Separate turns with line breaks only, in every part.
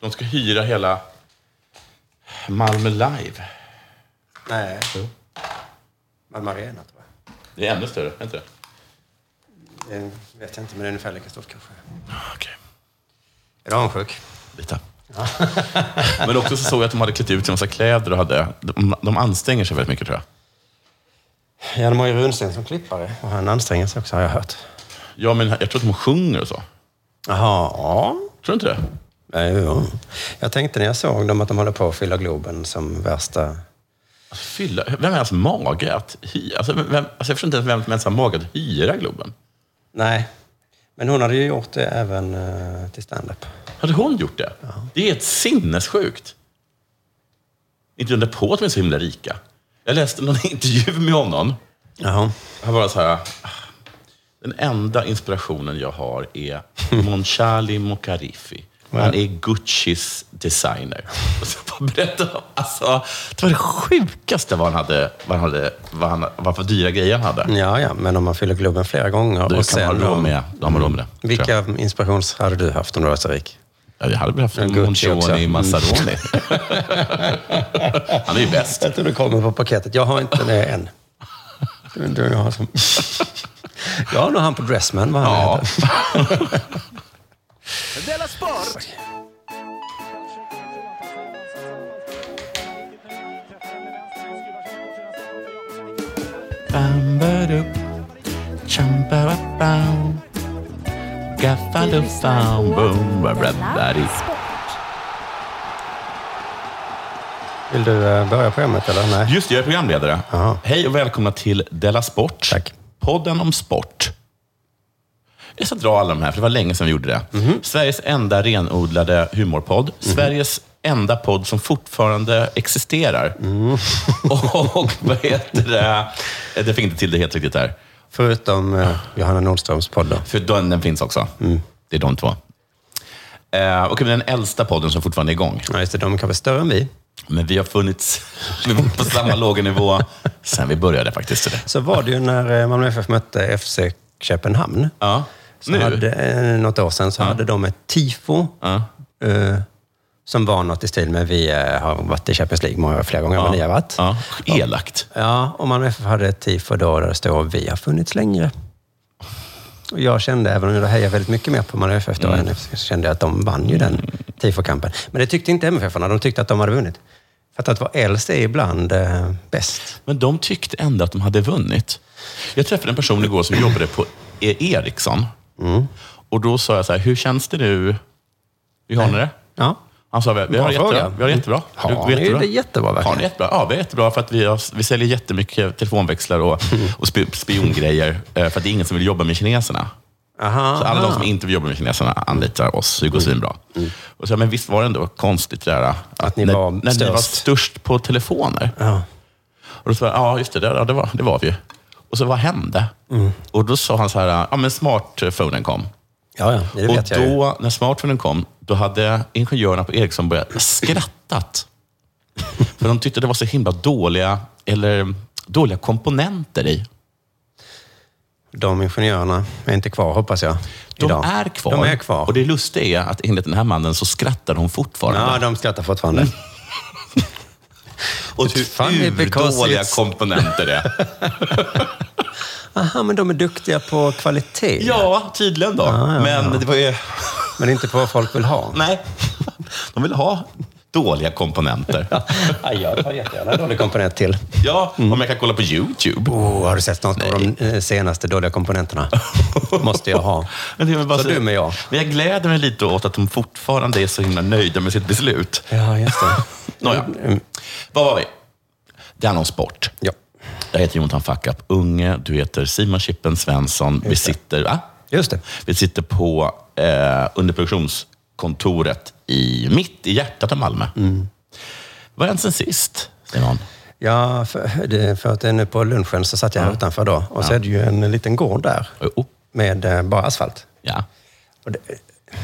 De ska hyra hela Malmö Live.
Nej. Malmö Arena tror jag.
Det är ännu större, är inte det?
Det vet jag inte, men det är ungefär lika stort kanske.
Okej.
Är du avundsjuk?
Lite. Men också så såg jag att de hade klätt ut sig i massa kläder och hade... De, de anstränger sig väldigt mycket tror jag.
Ja, de har ju Runsten som klippare. Och han anstränger sig också har jag hört.
Ja, men jag tror att de sjunger och så.
Jaha, ja.
Tror du inte det?
Nej, jo. Jag tänkte när jag såg dem att de håller på att fylla Globen som värsta...
Alltså, fylla, vem har ens mage att hyra? Alltså, vem, alltså, jag förstår inte ens vem som ens har mage att hyra Globen.
Nej. Men hon hade ju gjort det även eh, till stand-up.
Hade hon gjort det? Det är ett sinnessjukt. Inte undra på att de är så himla rika. Jag läste någon intervju med honom.
Jaha.
Han bara så här. "Ah, Den enda inspirationen jag har är Monchali Mokarifi. Han är Guccis designer. Och så bara berättade han, alltså, det var det sjukaste vad han hade, vad han hade, vad han, vad för dyra grejer han hade.
Ja, ja, men om man fyller Globen flera gånger
Då
och
kan man
sen...
ha råd med, då har man råd med det. tror jag.
Vilka inspirations hade du haft om du var så rik?
Ja, jag hade väl haft en
Gucci också.
Moncioni
Mm.
Massaroni. Han är ju bäst.
Jag tror det kommer på paketet. Jag har inte det än. Det är du jag har som... Jag har nog han på Dressman, vad han
Ja.
heter. Vill du eh, börja programmet eller? Nej.
Just det, jag är programledare.
Jaha.
Hej och välkomna till Della Sport.
Tack.
Podden om sport. Jag ska dra alla de här, för det var länge sedan vi gjorde det. Sveriges enda renodlade humorpodd. Sveriges enda podd som fortfarande existerar. Och, vad heter det? Det fick inte till det helt riktigt där.
Förutom eh, Johanna Nordströms podd då.
För den, den finns också. Det är de två. Eh, och den äldsta podden som fortfarande är igång.
Ja, just det, de är kanske större än vi.
Men vi har funnits vi var på samma låga nivå sen vi började faktiskt.
Så var det ju när eh, Malmö FF mötte FC Köpenhamn.
Ja,
Så
nu.
Hade, eh, något år sedan så hade de ett tifo.
Ja.
Eh, som var något i stil med vi eh, har varit i Champions League många, flera gånger än vad ni har varit.
Ja. Elakt.
Ja, och Malmö FF hade ett tifo då där det står vi har funnits längre. Och jag kände, även om jag hejade väldigt mycket mer på Malmö FF då,
Mm.
än FCK, så kände jag att de vann ju den tifokampen. Men det tyckte inte MFF-arna. De tyckte att de hade vunnit. För att vara äldst är ibland eh, bäst.
Men de tyckte ändå att de hade vunnit. Jag träffade en person igår som jobbade på E- Ericsson.
Mm.
Och då sa jag så här, hur känns det nu? Vi har ni det?
Ja.
Han sa, vi har
Bra
det jättebra.
fråga. Mm.
Vi har det jättebra.
Har
Du-
ni
vi har
det jättebra verkligen?
Har ni jättebra? Ja, vi är jättebra för att vi, har, vi säljer jättemycket telefonväxlar och,
Mm.
och spi- spiongrejer. eh, För att det är ingen som vill jobba med kineserna.
Aha. Mm.
Så alla de som inte vill jobba med kineserna anlitar oss. Det går svinbra. Och så, här, men visst var det ändå konstigt det där att,
ni
när,
var
när ni var
störst.
störst på telefoner?
Ja.
Och då sa jag, ja just det, där, ja, det, var, det var vi ju. Och så vad hände?
Mm.
Och då sa han så här, ja men smartphonen kom.
Ja, ja, det
och
vet jag ju.
då, när smartphonen kom, då hade ingenjörerna på Ericsson börjat skrattat. För de tyckte det var så himla dåliga, eller dåliga komponenter i.
De ingenjörerna är inte kvar, hoppas jag.
De
idag.
är kvar.
De är kvar.
Och det lustiga är att enligt den här mannen så skrattar de fortfarande.
Ja, de skrattar fortfarande.
Och
It's funny
hur
because
urdåliga
it's-
komponenter det är.
Aha, men de är duktiga på kvalitet.
Ja, tydligen då.
ja,
Men det var ju...
Men inte på vad folk vill ha.
Nej, de vill ha dåliga komponenter.
Ja, jag tar jättegärna dålig komponent till.
Ja,
Mm.
om jag kan kolla på YouTube.
Oh, har du sett något av de eh, senaste dåliga komponenterna? Måste jag ha.
Men det är väl bara
Så dum är jag.
Men jag gläder mig lite åt att de fortfarande är så himla nöjda med sitt beslut.
Ja, just det.
Nåja,
Mm,
vad var vi? Det handlar om sport.
Ja.
Jag heter Jonathan Fuckup Unge, du heter Simon Chippen Svensson. Ah? Vi sitter, va?
Just det.
Vi sitter på eh, underproduktionskontoret i, mitt i hjärtat av Malmö.
Mm.
Vad har hänt sen sist, Simon?
Ja, för, det, för att det är nu på lunchen så satt jag här utanför då. Och så är det ju en liten gård där
Jo,
med eh, bara asfalt.
oh, ja.
Och det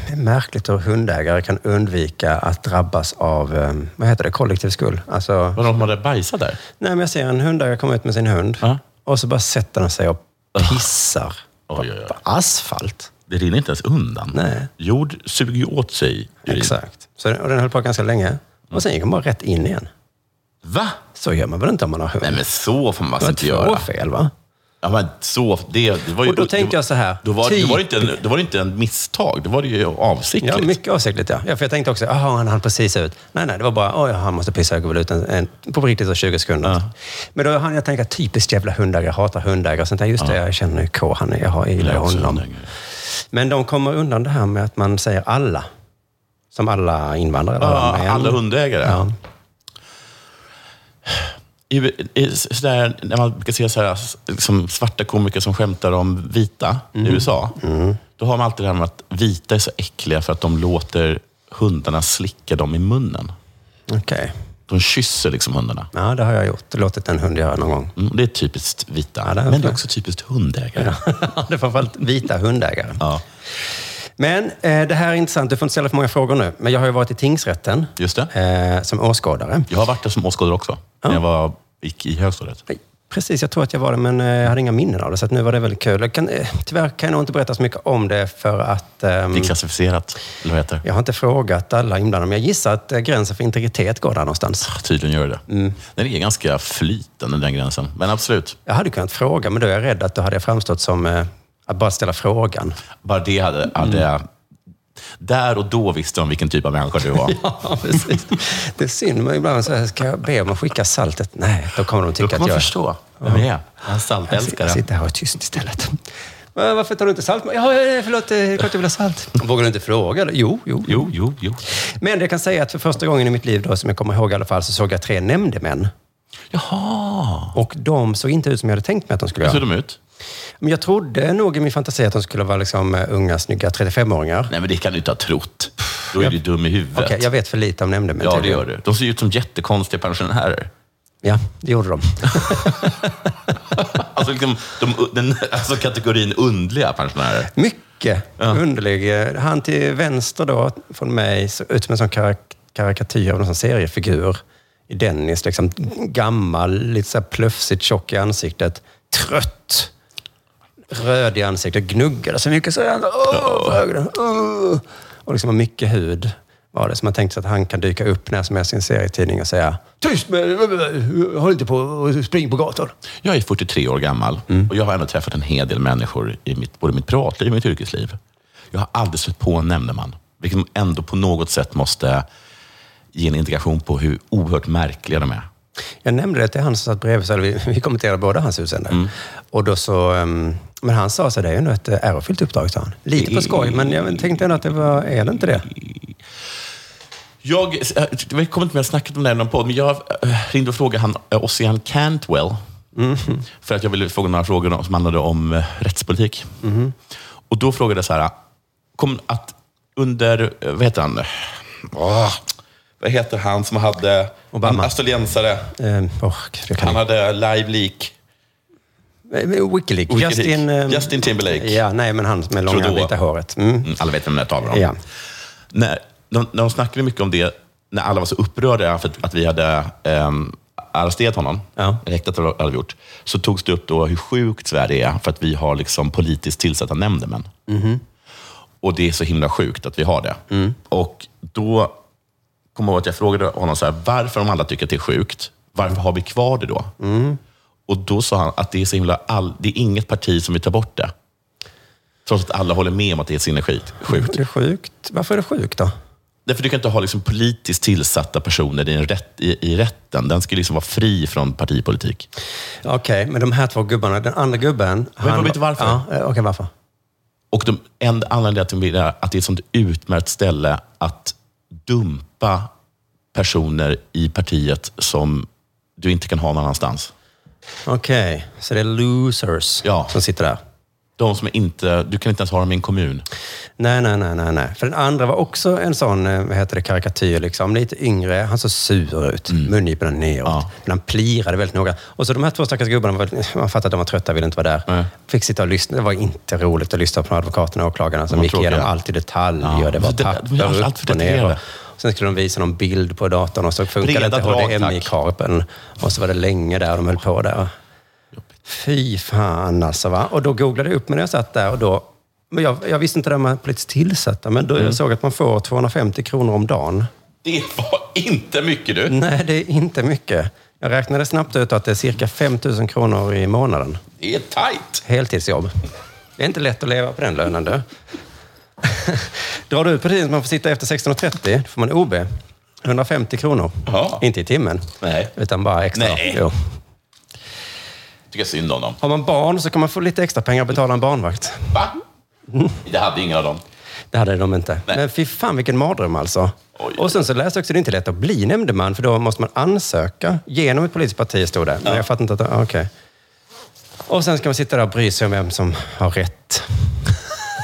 är märkligt hur hundägare kan undvika att drabbas av, eh, vad heter det, kollektiv skuld. Alltså,
Var det någon som hade bajsat där?
nej men jag ser en hundägare komma ut med sin hund
Ja.
och så bara sätter han sig och pissar på,
Oj, oj, oj.
på asfalt.
Det rinner inte ens undan.
Nej.
Jord suger ju åt sig urin.
Exakt. Så, och den höll på ganska länge. Och sen gick han bara rätt in igen.
Va?
Så gör man väl inte om man har hund?
Nej, men så får man
det
alltså
var
inte göra.
två fel va?
Ja, men så, det, det var ju,
Och då tänkte jag så här,
Då var, då var det, inte
typ-
en, då var det inte en misstag, då var det ju avsiktligt.
Ja, mycket avsiktligt ja. ja. För jag tänkte också, jaha, han hann precis ut. Nej, nej, det var bara, oj, han måste pissa, jag går väl ut en, en, på riktigt så 20 sekunder. Men då hann jag tänka, typiskt jävla hundägare, jag hatar hundägare. Sen tänkte jag, just det, jag känner ju K, han, är- jag har- jag gillar
Jag också
honom.
undrar.
Men de kommer undan det här med att man säger alla. Som alla invandrare. eller
Ja,
män.
alla hundägare.
Ja.
I, i, sådär, när man brukar se så här, s- liksom svarta komiker som skämtar om vita
Mm.
i USA, då har man alltid det här med att vita är så äckliga för att de låter hundarna slicka dem i munnen.
Okej.
De kysser liksom hundarna.
Ja, det har jag gjort. Låtit en hund göra någon gång.
Mm, och det är typiskt vita.
Ja, det är
Men det
det.
är också typiskt hundägare.
det är framförallt vita hundägare.
Ja,
Men eh, det här är intressant. Du får inte ställa för många frågor nu. Men jag har ju varit i tingsrätten
just det.
eh, som åskådare.
Jag har varit där som åskådare också, när jag var, gick i högstadiet.
Precis, jag tror att jag var det, men eh, jag hade inga minnen av det. Så att nu var det väldigt kul. Jag kan, eh, tyvärr kan jag nog inte berätta så mycket om det för att ehm,
Det är klassificerat, eller vad heter det?
jag har inte frågat alla inblandade. Men jag gissar att eh, gränsen för integritet går där någonstans.
Tydligen gör det det. Den är ganska flytande, den gränsen. Men absolut,
Jag hade kunnat fråga, men då är jag rädd att då hade jag framstått som eh, att bara ställa frågan.
bara det hade... hade Där och då visste de vilken typ av människa du var.
Ja, precis. Det är synd, men ibland så här, ska jag be om att skicka saltet? Nej, då kommer de
Då
tycka
kommer
att
man
jag...
förstå vem jag är. En
Jag sitter, jag
saltälskare.
sitter här och är tyst istället. Va, Varför tar du inte salt? Ja, eh, förlåt, eh, det är klart jag vill ha salt. Vågar du inte fråga? eller? Jo, jo.
Jo, jo, jo.
Men jag kan säga att för första gången i mitt liv, då, som jag kommer ihåg i alla fall, så såg jag tre nämndemän.
Jaha!
Och de såg inte ut som jag hade tänkt mig att de skulle
Hur ser
göra.
de ut?
Men jag trodde nog i min fantasi att de skulle vara liksom eh, unga, snygga 35-åringar.
Nej, men det kan du inte ha trott. Då är du dum i huvudet.
Okej, jag vet för lite om nämndemän.
Ja, det
tydligen.
gör du. De ser ju ut som jättekonstiga pensionärer.
Ja, det gjorde de.
Alltså, liksom, de, den, alltså kategorin undliga pensionärer.
Mycket underlig. eh, Han till vänster då, från mig, såg ut som en sån karak- karikatyr av någon sån seriefigur. I Dennis, liksom gammal, lite så här plufsigt tjock i ansiktet. Trött. Röd i ansiktet, gnuggade så mycket så han åh, för ögonen. åh. Och liksom mycket hud var det. Så man tänkte sig att han kan dyka upp när som helst i en serietidning och säga Tyst med dig! Håll inte på och spring på gatan.
Jag är 43 år gammal och jag har ändå träffat en hel del människor i mitt, både mitt privatliv och mitt yrkesliv. Jag har aldrig stött på en nämndeman, vilket ändå på något sätt måste ge en indikation på hur oerhört märkliga de är.
Jag nämnde det till han som satt bredvid, så vi, vi kommenterade båda hans utseende.
Mm.
Och då så, ehm, men han sa så det är ju ändå ett eh, ärofyllt uppdrag, sa han. Lite på skoj, men jag tänkte ändå att det var, är det inte det?
Jag, eh, jag kommer inte med att snacka om det här i någon podd, men jag eh, ringde och frågade han, eh, Ossian Cantwell,
Mhm.
för att jag ville fråga några frågor som handlade om eh, rättspolitik.
Mhm.
Och då frågade jag så här, kom att under, eh, vad heter han? Åh, vad heter han som hade,
Ah, Obama.
en australiensare,
Ehm, åh, gud, jag kan
han hade live leak.
Eh, Wikileaks.
Wikileaks.
Justin, ehm,
Justin Timberlake.
Ja, nej, men han med långa
Trudeau.
vita håret. Mm.
Mm, Alla vet vem jag talar om.
Ja.
När, de, när de snackade mycket om det, när alla var så upprörda för att, att vi hade ehm, arresterat honom,
Ja.
häktat eller vad vi hade gjort, så togs det upp då hur sjukt Sverige är för att vi har liksom politiskt tillsatta nämndemän. Och det är så himla sjukt att vi har det. Och då kommer ihåg att jag frågade honom så här, varför om alla tycker att det är sjukt, varför har vi kvar det då? Och då sa han att det är, så himla all, det är inget parti som vill ta bort det. Trots att alla håller med om att det är sinnessjukt. Sjukt.
Det är sjukt. Varför är det sjukt då?
Därför du kan inte ha liksom politiskt tillsatta personer i, en rätt, i, i rätten. Den ska liksom vara fri från partipolitik.
Okej, men de här två gubbarna. Den andra gubben...
får vi inte varför?
Ja, eh, okej, varför?
Och de, en anledning till att de vill är att det är ett sånt utmärkt ställe att dumpa personer i partiet som du inte kan ha någon annanstans.
Okej, så det är losers
Ja.
som sitter där.
De som är inte, du kan inte ens ha dem i en kommun.
Nej, nej, nej, nej, nej. För den andra var också en sån, eh, vad heter det, karikatyr liksom. Lite yngre, han såg sur ut. Mungiporna neråt.
Mm. Ja.
Men han plirade väldigt noga. Och så de här två stackars gubbarna, var, eh, man fattar att de var trötta, ville inte vara där.
Nej.
Fick sitta och lyssna. Det var inte roligt att lyssna på de här advokaterna och åklagarna som
var
gick
tråkiga.
igenom allt i detalj.
Ja.
Och det var
Det- de är
papper
allt-
upp
allt för
och ner.
detaljerade.
Och Sen skulle de visa någon bild på datorn och så funkade
Breda
inte
drag, tack.
HDMI-kabeln. Och så var det länge där de höll på där. Fy fan alltså. Va? Och då googlade jag upp mig när jag satt där och då... Men jag, jag visste inte det här med politiskt tillsatta, men då jag såg att man får 250 kronor om dagen.
Det var inte mycket du.
Nej, det är inte mycket. Jag räknade snabbt ut att det är cirka 5 000 kronor i månaden.
Det är tajt.
Heltidsjobb. Det är inte lätt att leva på den lönen du. Drar du ut på tiden så man får sitta efter 16.30, då får man OB. 150 kronor.
Ja.
Inte i timmen.
Nej.
Utan bara extra.
Nej.
Jo.
Tycker synd om dem.
Har man barn så kan man få lite extra pengar och betala en barnvakt.
Va? Det hade ingen av dem.
Det hade de inte.
Nej.
Men fy fan vilken mardröm alltså.
Oj.
Och sen så läste jag också, det är inte lätt att bli nämndeman för då måste man ansöka genom ett politiskt parti stod det. Men jag fattar inte att, ah, okej. Och sen ska man sitta där och bry sig om vem som har rätt.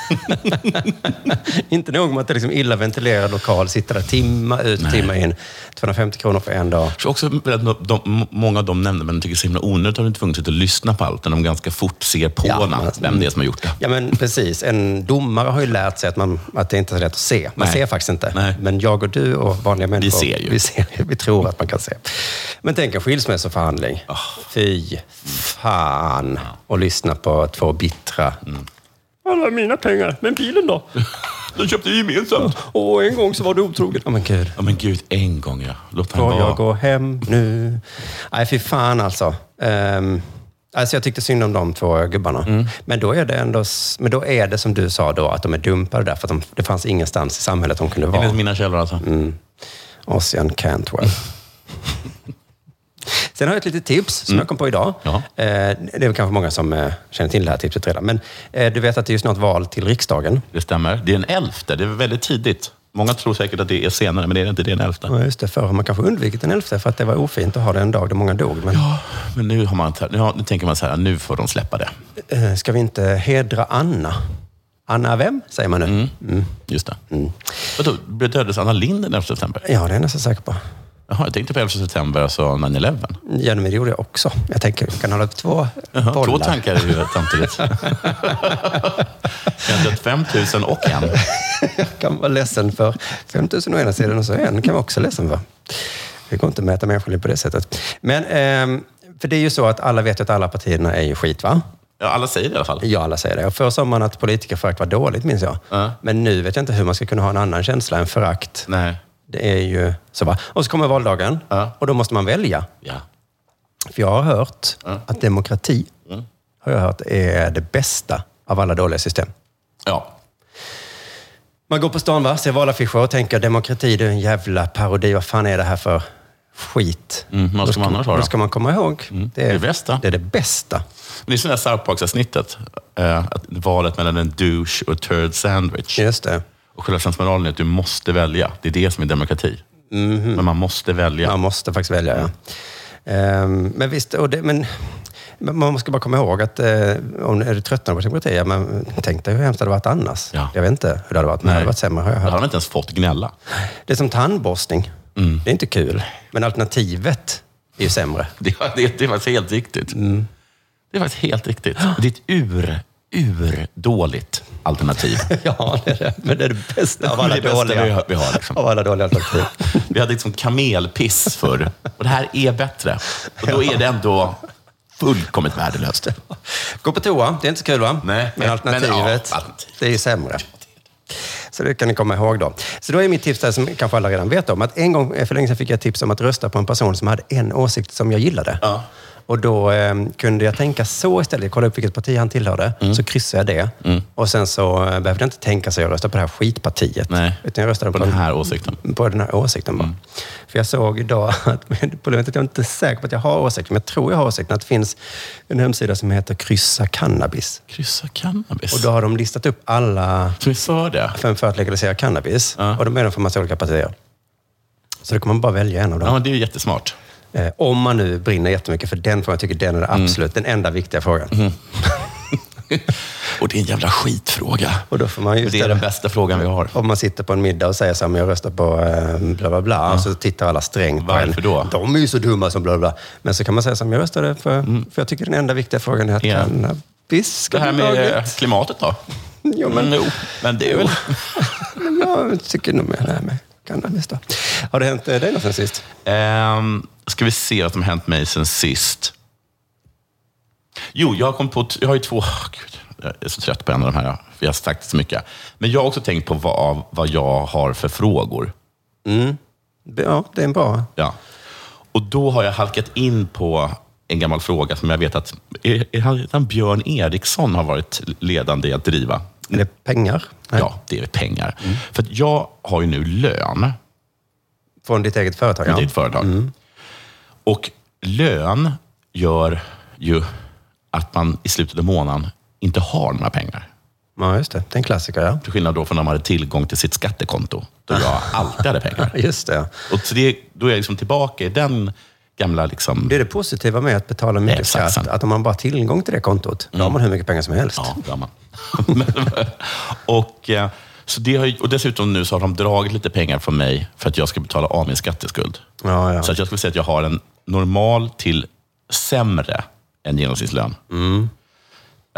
inte nog med att det är liksom illa ventilerad lokal, sitta där timma ut, timma in. 250 kronor för en dag.
Så också för att de, många av de nämndemännen tycker det är så himla onödigt att de inte tvungna att lyssna på allt, när de ganska fort ser på
Ja,
na-
men-
vem det är som har gjort det.
Ja, men precis. En domare har ju lärt sig att, man, att det inte är så lätt att se. Man
Nej.
ser faktiskt inte.
Nej.
Men jag och du och vanliga människor,
ser ju.
Vi, ser, vi tror att man kan se. Men tänk en skilsmässoförhandling.
Ah.
Fy fan. Och lyssna på två bittra.
Mm.
Alla mina pengar, men bilen då?
De köpte ju gemensamt.
Och en gång så var du otrogen. Ja, men gud.
Ja, men gud, en gång ja. Låt han
Får jag
vara.
gå hem nu? Nej, fy fan alltså. Ehm, alltså jag tyckte synd om de två gubbarna. Men, då är det ändå, s- men då är det som du sa då, att de är dumpade där, för att de, det fanns ingenstans i samhället de kunde
Enligt
vara.
mina källor alltså.
Ossian Cantwell. Sen har jag ett litet tips som jag kom på idag.
Ja.
Eh, Det är väl kanske många som eh, känner till det här tipset redan. Men eh, du vet att det är ju snart val till riksdagen.
Det stämmer. Det är en elfte. Det är väldigt tidigt. Många tror säkert att det är senare, men det är det inte. Det är en elfte.
Ja, just det. Förr har man kanske undvikit den 11 för att det var ofint att ha det en dag då många dog. Men
Men nu, har man, nu, har, nu tänker man så här, nu får de släppa det.
eh, ska vi inte hedra Anna? Anna vem, säger man nu.
Mm. Just det. Vadå, dödades Anna Lindh den 11 september?
Ja, det är jag nästan säker på.
Jaha, jag tänkte på 11 september, alltså 9-11.
Ja, men det gjorde jag också. Jag tänker, vi kan hålla upp två
Jaha,
bollar.
Två tankar i huvudet samtidigt. Jag har dött 5 000 och en.
Jag kan vara ledsen för 5000 å ena sidan och så en kan man också ledsen för. Det går inte att mäta människoliv på det sättet. Men, ehm, för det är ju så att alla vet ju att alla partierna är ju skit, va?
Ja, alla säger det i alla fall.
Ja, alla säger det. Och Förr sa man att politikerförakt var dåligt, minns jag.
Ja.
Men nu vet jag inte hur man ska kunna ha en annan känsla än förakt.
Nej.
Det är ju så, va? Och så kommer valdagen
Ja.
och då måste man välja.
Ja.
För jag har hört att demokrati, har jag hört, är det bästa av alla dåliga system.
ja.
Man går på stan, va? ser valaffischer och tänker demokrati, det är en jävla parodi. Vad fan är det här för skit?
Mm, vad
Då
ska man annars ha då? Mm,
Då ska man komma ihåg.
det är det bästa.
Det är det bästa.
Men det är sådana South Park-avsnittet. Eh, att valet mellan en douche och turd sandwich.
Just det.
Och själva transmoralen är att du måste välja. Det är det som är demokrati. Men man måste välja.
Mhm. Man måste faktiskt välja, ja. Ehm, men visst, och det, men, men man ska bara komma ihåg att eh, om är du tröttnar på demokrati, ja, men tänk dig hur hemskt det hade varit annars.
Ja.
Jag vet inte hur det hade varit, men det hade varit sämre har jag
Då har
hört.
de inte ens fått gnälla.
Det är som tandborstning. Det är inte kul, men alternativet är ju sämre.
Det, det, det är faktiskt helt riktigt.
Mm.
Det är faktiskt helt riktigt. Det är ett ur, ur dåligt alternativ.
Ja, det är det. Men det är det bästa av alla
Det är det bästa
dåliga.
vi har- vi har, liksom.
Av alla dåliga alternativ.
Vi hade liksom kamelpiss förr. Och det här är bättre. Och då är det ändå fullkomligt värdelöst.
Gå på toa, det är inte så kul va?
Nej.
Men alternativet,
Men, ja, alternativet.
det är ju sämre. Så det kan ni komma ihåg då. Så då är mitt tips där som kanske alla redan vet om. Att en gång eh, för länge sedan fick jag tips om att rösta på en person som hade en åsikt som jag gillade.
Ja.
Och då eh, kunde jag tänka så istället. Kolla upp vilket parti han tillhörde.
Mm.
Så kryssade jag det. Och sen så eh, behövde jag inte tänka så jag röstade på det här skitpartiet.
Nej.
Utan jag röstade
På
på
den här åsikten.
på den här åsikten bara.
Mm.
För jag såg idag att problemet är att jag inte är säker på att jag har åsikten, men jag tror jag har åsikten, att det finns en hemsida som heter Kryssa cannabis.
Kryssa cannabis.
Och då har de listat upp alla
Så vi sa det?
för, för att legalisera cannabis.
Ja.
Och de är de för massa olika partier. Så då kan man bara välja en av dem.
Ja, men det är ju jättesmart.
Eh, om man nu brinner jättemycket för den frågan. Jag tycker den är
Mm.
den absolut den enda viktiga frågan.
Och det är en jävla skitfråga.
Och då får man ju
det är
ställa-
den bästa frågan vi har.
Om man sitter på en middag och säger så här, men jag röstar på eh, bla bla bla, och så tittar alla strängt på
Varför
en.
då?
De är ju så dumma som bla bla bla. Men så kan man säga som jag röstade för, för jag tycker den enda viktiga frågan är att
Mm. Ja.
cannabis ska
Det här
bli
med
lagligt.
klimatet då?
Jo, men,
jo, men det är väl...
men jag tycker nog mer det här med cannabis då. Har det hänt eh, dig något sen sist?
Ehm, ska vi se vad som har hänt mig sen sist. Jo, jag har kommit på... t- Jag har ju två... åh, Gud, jag är så trött på en av de här. för Jag har sagt så mycket. Men jag har också tänkt på vad, vad jag har för frågor.
Ja, det är en bra.
Ja. Och då har jag halkat in på en gammal fråga som jag vet att är, är han, är han Björn Eriksson har varit ledande i att driva.
Är det pengar? Nej.
Ja, det är pengar. För att jag har ju nu lön
Från ditt eget företag?
i ditt företag. Och lön gör ju att man i slutet av månaden inte har några pengar.
ja, just det. Det är en klassiker, ja.
Till skillnad då från när man hade tillgång till sitt skattekonto, då jag alltid hade pengar.
Just det.
Och så det, då är jag liksom tillbaka i den gamla... Liksom,
Det är det positiva med att betala mycket
Exakt.
skatt, att om man bara har tillgång till det kontot, då har man hur mycket pengar som helst.
Mm. Ja, det har man. Men- och, eh, så det har, ju- och dessutom nu så har de dragit lite pengar från mig för att jag ska betala av min skatteskuld.
Ja, ja.
Så att jag skulle säga att jag har en normal till sämre än genomsnittslön.
Mm.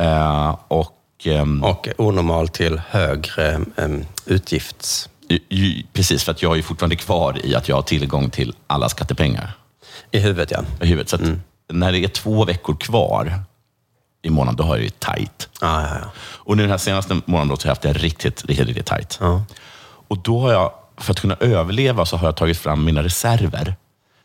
Eh, och, ehm,
Och onormal till högre um, utgifts...
ju- ju- precis, för att jag är ju fortfarande kvar i att jag har tillgång till alla skattepengar
I huvudet, ja.
i huvudet. Så att
Mm.
när det är två veckor kvar i månaden, då har jag ju tajt.
Ah, ja, ja.
Och nu den här senaste månaden då, så har jag haft det riktigt, riktigt, riktigt tajt. Och då har jag, för att kunna överleva, så har jag tagit fram mina reserver.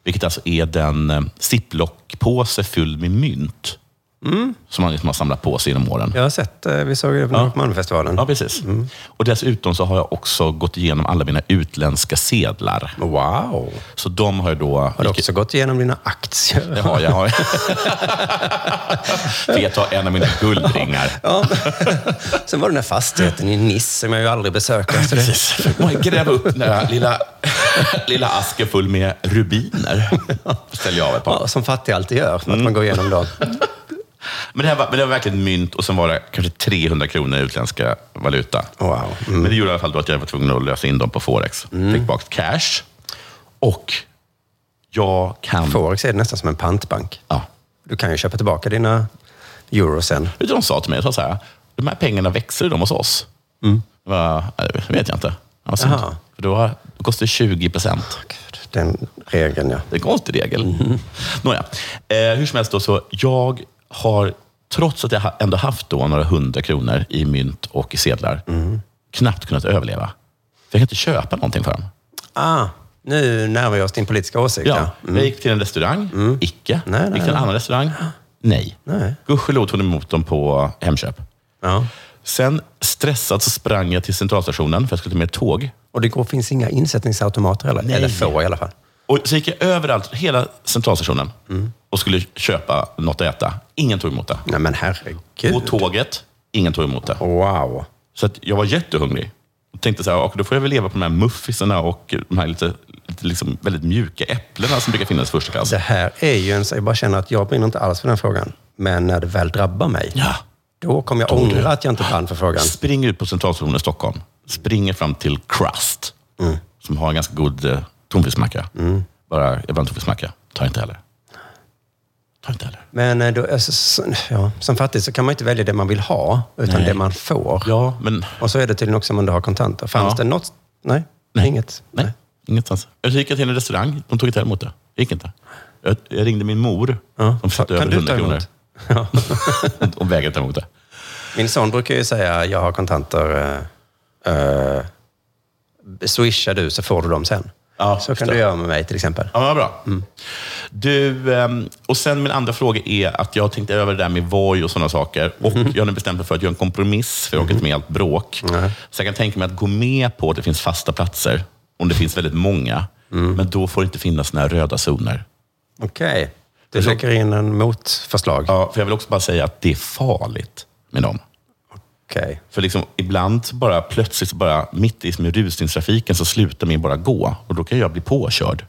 Vilket alltså är den eh, ziplock-påse fylld med mynt.
Mm.
Som man liksom har samlat på sig genom åren.
Jag har sett, eh, vi såg det på Norrmalmsfestivalen.
Ja, precis.
Mm.
Och dessutom så har jag också gått igenom alla mina utländska sedlar.
Wow!
Så de har jag då...
Har du också gått igenom dina aktier?
Det har jag. har jag. För jag tar en av mina guldringar.
Ja. Sen var det den där fastigheten i Nice som jag ju aldrig besöker. Så det,
Precis. Man gräver upp den där lilla, lilla asken full med rubiner. Ställer jag av ett par.
ja, Mm. som fattiga alltid gör, att man går igenom dem.
Men det, här var, men det var verkligen mynt och sen var det kanske 300 kronor i utländska valuta.
Wow.
Men det gjorde i alla fall då att jag var tvungen att lösa in dem på Forex. Fick bak cash. Och jag kan...
Forex är det nästan som en pantbank.
Ja.
Du kan ju köpa tillbaka dina euro sen.
Vet du vad de sa till mig? De sa så här, de här pengarna växer de hos oss? Jag bara, "Nej, Det vet jag inte. Det var synd.
Jaha.
För då, då kostar det 20 procent.
Den regeln, ja.
Det är en konstig regel.
Mhm.
Nåja, eh, hur som helst då, så jag har, trots att jag ha- ändå haft då några hundra kronor i mynt och i sedlar,
Mhm.
knappt kunnat överleva. För jag kan inte köpa någonting för dem.
Ah, nu närmar vi oss din politiska åsikt.
Ja,
ja.
Jag gick till en restaurang, icke.
Mm. Nej, nej,
gick till en
nej.
annan restaurang, nej.
Nej.
Gudskelov tog de emot dem på Hemköp.
ja.
Sen stressad så sprang jag till centralstationen för jag skulle ta med ett tåg.
Och det går, finns inga insättningsautomater heller.
Nej.
Eller få i alla fall.
Och så gick jag överallt, hela centralstationen,
Mm.
och skulle köpa något att äta. Ingen tog emot det.
Nej men
På
herregud.
tåget, ingen tog emot det.
Wow.
Så att jag var jättehungrig. Och tänkte så här, "Och då får jag väl leva på de här muffinsarna och de här lite, lite liksom väldigt mjuka äpplena som brukar finnas i första klass.
Det här är ju en... Jag bara känner att jag brinner inte alls för den frågan. Men när det väl drabbar mig,
Ja.
då kommer jag ångra att jag inte brann för frågan.
Springer ut på Centralstationen i Stockholm. Springer fram till Crust,
Mm.
som har en ganska god eh, tonfiskmacka. Bara, jag vill ha en tonfiskmacka. Ta inte heller. Ta inte heller.
Men eh, då, alltså, så- ja, som fattig så kan man inte välja det man vill ha, utan
Nej.
det man får.
Ja, men
Och så är det tydligen också om man då har kontanter. Fanns
Ja.
det något? Nej,
Nej.
inget.
Nej, ingenstans. Jag gick till en restaurang. De tog inte emot det. Det gick inte. Jag, jag ringde min mor.
Ja.
Hon flyttade
Kan
över
du ta
100 kronor.
emot? Ja.
Hon vägrade ta emot det.
Min son brukar ju säga, jag har kontanter. eh, eh, swishar du så får du dem sen.
Ja,
så kan
förstår.
du göra med mig till exempel.
Ja, men vad bra. Du, ehm, och sen min andra fråga är att jag tänkte över det där med Voi och sådana saker. Och jag har nu bestämt mig för att göra en kompromiss, för jag orkar inte med allt bråk. Så jag kan tänka mig att gå med på att det finns fasta platser, om det finns väldigt många. Men då får det inte finnas såna här röda zoner.
Okej. Du lägger in en motförslag.
Ja, för jag vill också bara säga att det är farligt med dem.
Okej.
För liksom, ibland så bara plötsligt, så bara, mitt i som i rusningstrafiken, så slutar min bara gå. Och då kan jag bli påkörd.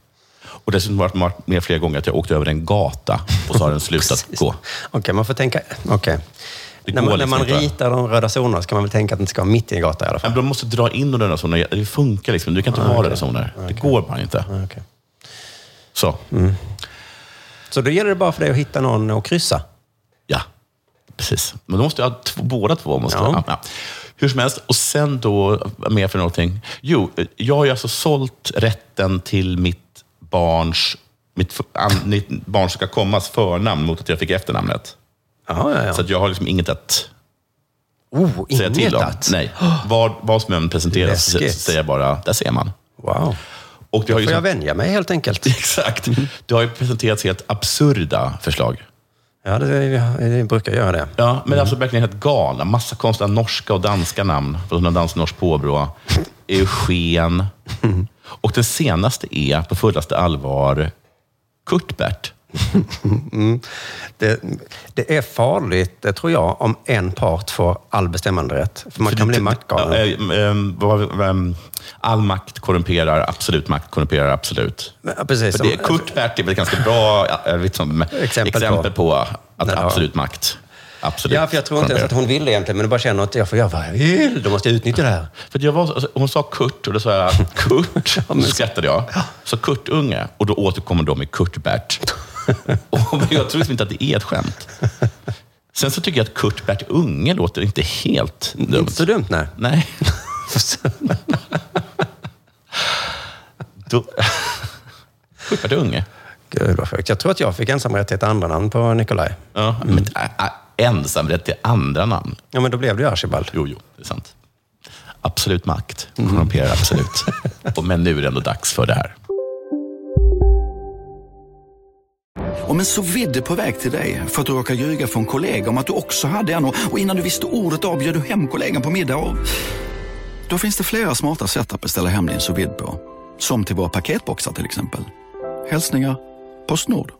Och dessutom har det varit med flera gånger att jag åkt över en gata och så har den slutat
Precis.
gå.
Okej, man får tänka... Okej.
Det
När
går
man, när
liksom
man
inte.
ritar de röda zonerna ska man väl tänka att det inte ska vara mitt i en gata i alla fall.
Men de måste dra in de röda zonerna. Det funkar liksom. Du kan
Ah,
inte ha röda zoner. Det går bara inte.
Okej.
Så,
Mm. Så då gäller det bara för dig att hitta någon och kryssa.
ja. Precis. Men då måste jag ha två, båda två. Måste
Ja.
ja. Ja. Hur som helst, och sen då, vad mer för någonting? Jo, jag har ju alltså sålt rätten till mitt barns, mitt, f- an, mitt barn ska kommas förnamn mot att jag fick efternamnet.
Ja, ja,
Så
ja.
att jag har liksom inget att
Oh,
säga till
inget
om.
att...
Nej. Vad, vad som än presenteras så
Läskigt.
säger jag bara, där ser man.
Wow.
Och det har ju liksom-
Får jag
som-
vänja mig helt enkelt?
Exakt. Det har ju presenterats helt absurda förslag.
Ja, det, jag, jag brukar göra det.
Ja, men alltså verkligen helt galna. Massa konstiga norska och danska namn. På sådana dansk norsk påbrå. Eugen. Och den senaste är på fullaste allvar Kurtbert.
det. Det är farligt, det tror jag, om en part får all bestämmanderätt. För man kan bli maktgalen.
Ja, ehm, ehm, vad- vad- ehm, All makt korrumperar, absolut makt korrumperar absolut.
Ja, precis.
För det,
Som-
Kurtbert är väl ett ganska bra ja, eh, liksom,
Exempel på-
exempel, på att
Ja.
absolut makt absolut
Ja, för jag tror inte ens
korrumperar.
att hon vill egentligen, men du bara känner att jag får göra vad jag vill. Då måste jag utnyttja det här.
För att jag var, alltså, hon sa Kurt och då sa jag Kurt. Och så skrattade jag. Så Kurt Unge. Och då återkommer de med Kurt Bert. Och jag tror liksom inte att det är ett skämt. Sen så tycker jag att Kurt Bert Unge låter inte helt dumt.
Inte så dumt, nej.
Nej. då, Kurt Bert Unge.
Gud vad sjukt. Jag tror att jag fick ensamrätt till ett andra namn på Nikolaj.
Ja, men, ä, ä, ensamrätt till andra namn.
Ja, men då blev det ju Archibald.
Jo, jo, det är sant. Absolut makt
Mm.
korrumperar absolut. Och, men nu är det ändå dags för det här.
Om en så vidde på väg till dig för att du råkar ljuga från kollega om att du också hade en och och innan du visste ordet av bjöd du hem kollegan på middag och... Då finns det flera smarta sätt att beställa hem din sous vide på. Som till våra paketboxar till exempel. Hälsningar Postnord.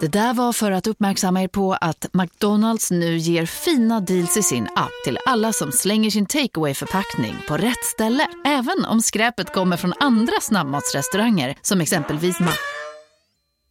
Det där var för att uppmärksamma er på att McDonalds nu ger fina deals i sin app till alla som slänger sin takeaway förpackning på rätt ställe. Även om skräpet kommer från andra snabbmatsrestauranger som exempelvis Ma...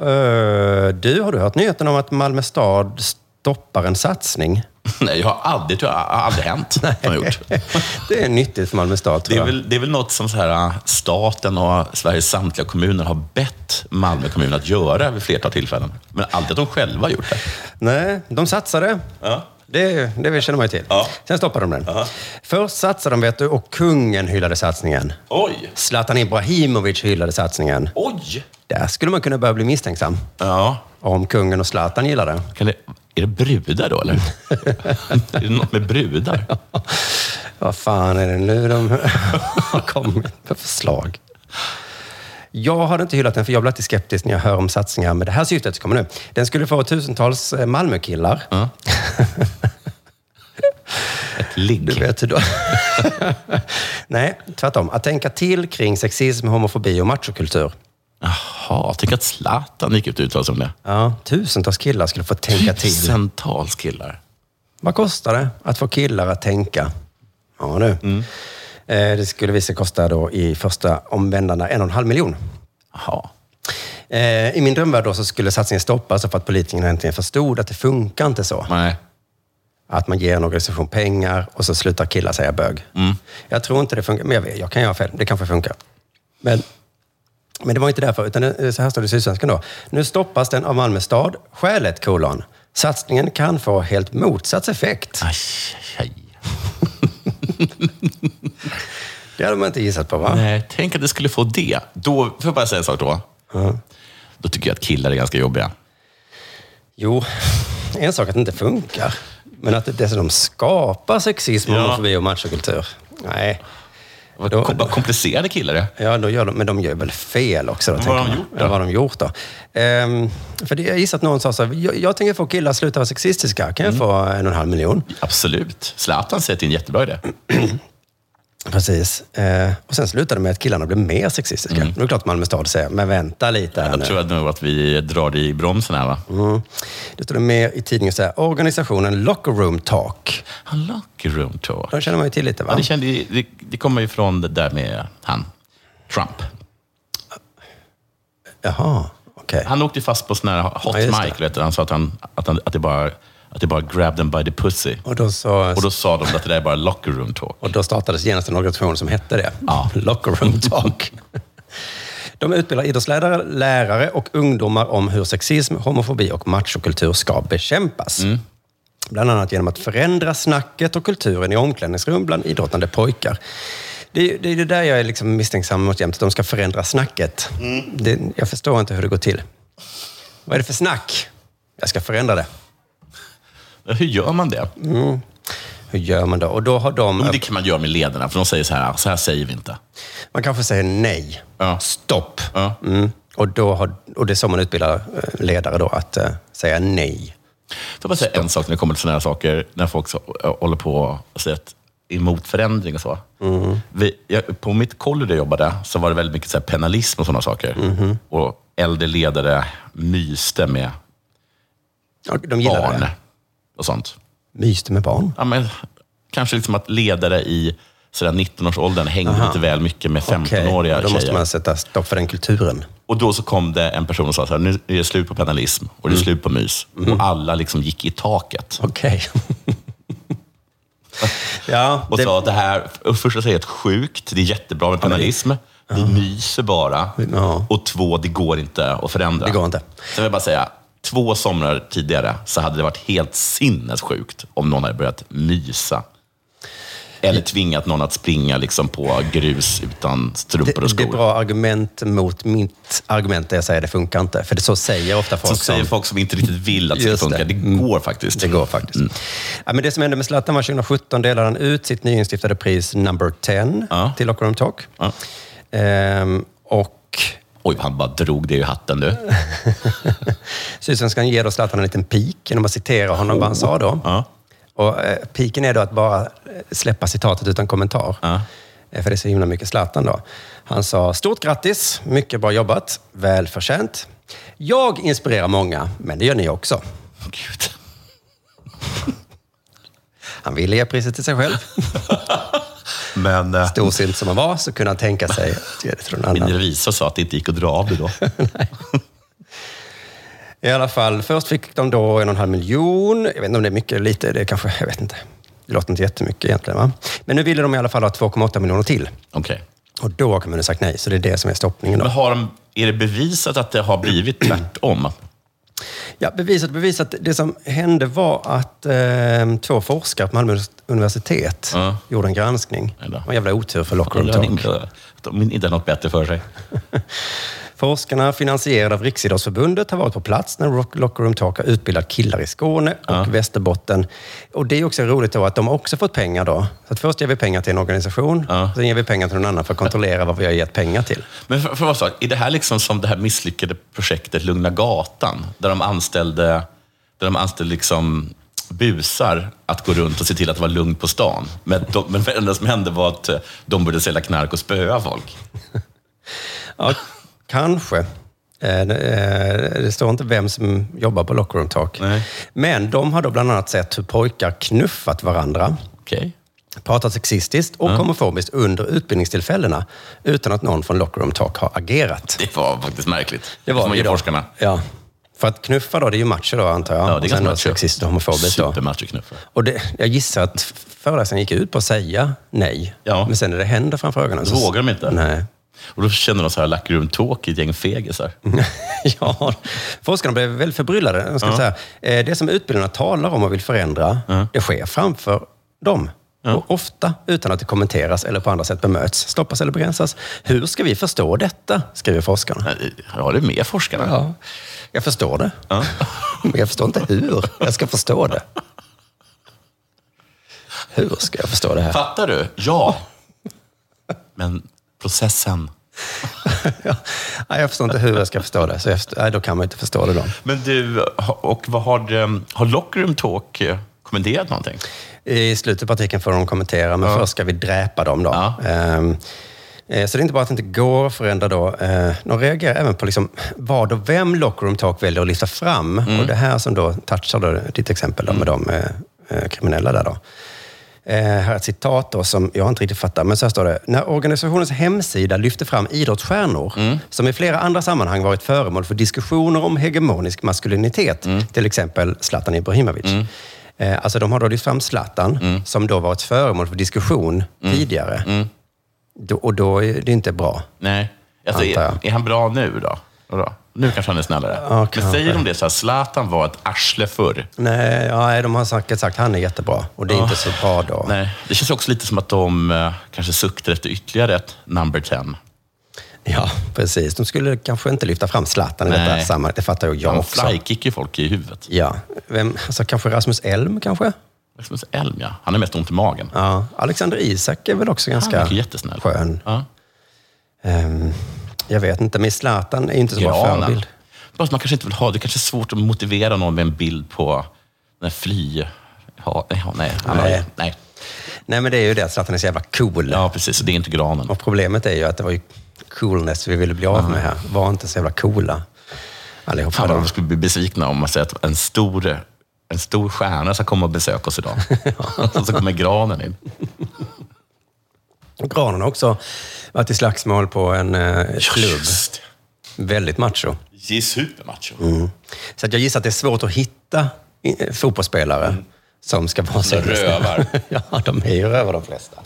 Eh, du, har du hört nyheten om att Malmö stad stoppar en satsning?
Nej, jag har aldrig, tror jag, har aldrig hänt. som jag har gjort.
Det är nyttigt för Malmö stad,
Det,
tror
är
jag.
väl, det är väl något som så här, äh, staten och Sveriges samtliga kommuner har bett Malmö kommun att göra vid flertal tillfällen. Men aldrig att de själva har gjort det.
Nej, de satsade.
Ja.
Det, det känner man ju till.
Ja.
Sen stoppade de den. Först satsade de, vet du, och kungen hyllade satsningen.
Oj!
Zlatan Ibrahimovic hyllade satsningen.
Oj!
Där skulle man kunna börja bli misstänksam.
Ja.
Om kungen och Zlatan gillar det.
Kan det, är det brudar då, eller? är det något med brudar?
Vad fan är det nu de har kommit med förslag? Jag har inte hyllat den, för jag blir alltid skeptisk när jag hör om satsningar med det här syftet som kommer nu. Den skulle få tusentals eh, Malmökillar.
Ett ligg?
Du vet hur då. Nej, tvärtom. Att tänka till kring sexism, homofobi och machokultur.
Jaha, tänk att Zlatan gick ut och uttalade sig om det.
Ja, tusentals killar skulle få tänka till.
Tusentals killar.
Vad kostar det att få killar att tänka? Ja, nu. Eh, Det skulle visa kosta då i första omvändarna en och en halv miljon.
Jaha.
Eh, I min drömvärld då så skulle satsningen stoppas för att politikerna äntligen förstod att det funkar inte så. Att man ger en organisation pengar och så slutar killar säga bög. Jag tror inte det funkar, men jag, vet, jag kan göra fel. Det kanske funkar. Men, men det var inte därför, utan det, så här står det i Sydsvenskan då. Nu stoppas den av Malmö stad. Skälet, kolon. Satsningen kan få helt motsatt effekt. det hade man inte gissat på, va?
Nej, tänk att det skulle få det. Då, får jag bara säga en sak då? Då tycker jag att killar är ganska jobbiga.
Jo, en sak att det inte funkar. Men att det dessutom skapar sexism,
Ja.
homofobi och machokultur. Nej.
Vad kom- vad komplicerade killar är.
Ja, då gör de, men de gör väl fel också. Då,
Vad
tänker
har de
man.
gjort då?
Ja, vad har de gjort då? Ehm, för det, jag gissar att någon sa så här, jag, jag tänker få killar att sluta vara sexistiska. Kan jag
Mm.
få en och en halv miljon?
Absolut. Zlatan säger att det är en jättebra idé.
Precis. Ehm, och sen slutar det med att killarna blir mer sexistiska. Då är det klart Malmö stad säger, men vänta lite här
Jag
nu.
Mm. tror att nog att vi drar i bromsen här, va?
Mm. Det står det mer i tidningen så här, organisationen Locker Room Talk.
Locker Room Talk.
De känner man ju till lite va?
Ja, det, kände, ju- det, det kommer ju från det där med han, Trump.
Jaha, okej.
Han åkte ju fast på sån här hot
Ja, just det.
mic. Vet du? Han sa att, han, att, han, att, det bara, att det bara grab them by the pussy.
Och då sa...
Och då sa de att det där är bara locker room talk.
Och då startades genast en organisation som hette det. Ja. Locker Room Talk. De utbildar idrottsledare, lärare och ungdomar om hur sexism, homofobi och machokultur ska bekämpas.
Mm.
Bland annat genom att förändra snacket och kulturen i omklädningsrum bland idrottande pojkar. Det är det, är det där jag är liksom misstänksam mot jämt, att de ska förändra snacket.
Mm.
Det, jag förstår inte hur det går till. Vad är det för snack? Jag ska förändra det.
Hur gör man det?
Mm. Hur gör man då? Och då har de...
Jo, men det kan man göra med ledarna, för de säger så här, så här säger vi inte.
Man kanske säger nej. Stopp. Mm. Och, då har, och det är så man utbildar eh, ledare då, att eh, säga nej.
Får jag bara säga en sak när det kommer till sådana här saker, när folk så, ö, håller på och säger att emot förändring och så.
Mm.
Vi, jag, på mitt kollo där jag jobbade så var det väldigt mycket så här penalism och sådana saker.
Mm-hmm.
Och äldre ledare myste med
de gillar
barn
det.
och sånt.
Myste med barn?
Ja, men, kanske liksom att ledare i sådär 19-årsåldern hängde
Aha.
lite väl mycket med
Okej,
15-åriga
Då måste
tjejer.
man sätta stopp för den kulturen.
Och då så kom det en person och sa så här, nu är det slut på penalism och det är
Mm.
slut på mys. Och alla liksom gick i taket.
Okej. ja,
och sa att det här, och första säger att sjukt, det är jättebra med penalism. Vi myser bara. Och två, det går inte att förändra.
Det går inte.
Så jag vill bara säga, två somrar tidigare så hade det varit helt sinnessjukt om någon hade börjat mysa. Eller tvingat någon att springa liksom på grus utan strumpor och
Det, det
skor.
är bra argument mot mitt argument där jag säger det funkar inte. För det så säger ofta folk.
så säger folk som inte riktigt vill att det ska funka. Det. går faktiskt.
Mm.
Mm.
Det går faktiskt. Ja, men det som hände med Zlatan var 2017 delade han ut sitt nyinstiftade pris Number 10 till Locker Room Talk. Ehm, och
Oj, han bara drog det i hatten du.
Sydsvenskan ger då Zlatan en liten pik genom att citera honom vad han sa då. Och eh, piken är då att bara eh, släppa citatet utan kommentar. Eh, För det är så himla mycket Zlatan då. Han sa, stort grattis, mycket bra jobbat, välförtjänt. Jag inspirerar många, men det gör ni också.
Gud.
Han ville ge priset till sig själv.
Men, eh,
Storsint som han var så kunde han tänka sig att ge det till någon annan.
Min revisor sa att det inte gick att dra av det då.
I alla fall, först fick de då en och en halv miljon. Jag vet inte om det är mycket eller lite, det är kanske, jag vet inte. Det låter inte jättemycket egentligen. Va? Men nu ville de i alla fall ha 2,8 miljoner till.
Okej.
Och då har kommunen sagt nej, så det är det som är stoppningen.
Men
Då.
har de, är det bevisat att det har blivit tvärtom?
Ja, bevisat, bevisat. Det som hände var att eh, två forskare på Malmö universitet gjorde en granskning. Det var en jävla otur för Locker Room
Eller har de
Talk.
inte, de inte har något bättre för sig?
Forskarna, finansierade av Riksidrottsförbundet, har varit på plats när Rock- Locker Room Talk har utbildat killar i Skåne och Västerbotten. Och det är också roligt då att de har också fått pengar då. Så att först ger vi pengar till en organisation, sen ger vi pengar till någon annan för att kontrollera vad vi har gett pengar till.
Men för, för vad sak, är det här liksom som det här misslyckade projektet Lugna gatan? Där de anställde, där de anställde liksom busar att gå runt och se till att det var lugnt på stan. Men, de, men det enda som hände var att eh, de började sälja knark och spöa folk.
Ja, kanske. Eh, eh, Det står inte vem som jobbar på Locker Room Talk. Men de har då bland annat sett hur pojkar knuffat varandra.
Okej.
pratat sexistiskt och homofobiskt under utbildningstillfällena utan att någon från Locker Room Talk har agerat.
Det var faktiskt märkligt.
Det var
Får man
det
ge
då.
forskarna.
Ja. För att knuffa då, det är ju macho då antar jag.
Ja, det är
Och
ganska
sen då
macho.
Sexist och homofobiskt då.
Supermachoknuffar.
Och det, jag gissar att föreläsaren gick ut på att säga nej. Men sen när det händer framför ögonen
Då vågar de inte.
Nej.
Och då känner de så här Locker Room Talk i ett gäng fegisar.
ja, forskarna blev väldigt förbryllade. Jag ska
Ja.
säga, eh, det som utbildarna talar om och vill förändra, det sker framför dem. Och ofta utan att det kommenteras eller på andra sätt bemöts, stoppas eller begränsas. Hur ska vi förstå detta? Skriver forskarna.
Ja, det är Eh, med forskarna.
Ja, jag förstår det. Men jag förstår inte hur jag ska förstå det. Hur ska jag förstå det här?
Fattar du? Ja. Men processen.
Nej, jag förstår inte hur jag ska förstå det. Så jag förstår, nej, då kan man inte förstå det då.
Men du, ha- och vad har, det- har Locker Room Talk eh, kommenterat någonting?
I slutet på artikeln får de kommentera, men först ska vi dräpa dem då. Ehm, eh, så det är inte bara att det inte går att förändra då. eh, De reagerar även på liksom vad och vem Lockroom Talk väljer att lyfta fram. Och det här som då touchar då ditt exempel då med de eh, eh, kriminella där då. Eh, här är ett citat då som jag inte riktigt fattar, men så här står det. När organisationens hemsida lyfter fram idrottsstjärnor
Mm.
som i flera andra sammanhang varit föremål för diskussioner om hegemonisk maskulinitet,
Mm.
till exempel Zlatan Ibrahimovic. Eh, alltså de har då lyft fram Zlatan,
Mm.
som då varit föremål för diskussion tidigare. Då, och då är det inte bra.
Nej. Alltså,
Antar
är,
jag.
är han bra nu då? Vadå? Nu kanske han är snällare.
Ja, kanske.
Men säger de det så här, Zlatan var ett arsle förr.
Nej, ja, nej, de har säkert sagt han är jättebra och det är inte så bra då.
Nej. Det känns också lite som att de eh, kanske suktar efter ytterligare ett number 10.
Ja, precis. De skulle kanske inte lyfta fram Zlatan i
Nej.
detta sammanhang. Det fattar ju jag
Han
också.
flykickar folk i huvudet.
Ja. Vem, alltså, kanske Rasmus Elm kanske?
Rasmus Elm, ja. Han har mest ont i magen.
Ja, Alexander Isak är väl också ganska
verkar jättesnäll.
skön.
Ja.
Ehm, jag vet inte, men Zlatan är ju inte så bra
Granen.
förebild.
Bara att man kanske inte vill ha. Det är kanske är svårt att motivera någon med en bild på den här fly... Ja, nej, ja, nej, han
Nej.
Har, nej.
Nej, men det är ju det att Zlatan är så jävla cool.
Ja, precis. Det är inte granen.
Och problemet är ju att det var ju coolness vi ville bli av med här. Var inte så jävla coola allihopa.
Fan vad
då.
de skulle bli besvikna om man säger att en stor, en stor stjärna ska komma och besöka oss idag. Och så kommer granen in.
Granen har också varit i slagsmål på en eh, klubb.
Just det.
Väldigt macho.
Det är supermacho.
Mm. Så att jag gissar att det är svårt att hitta i- fotbollsspelare som ska vara så.
Rövar.
ja, de är ju rövar de flesta.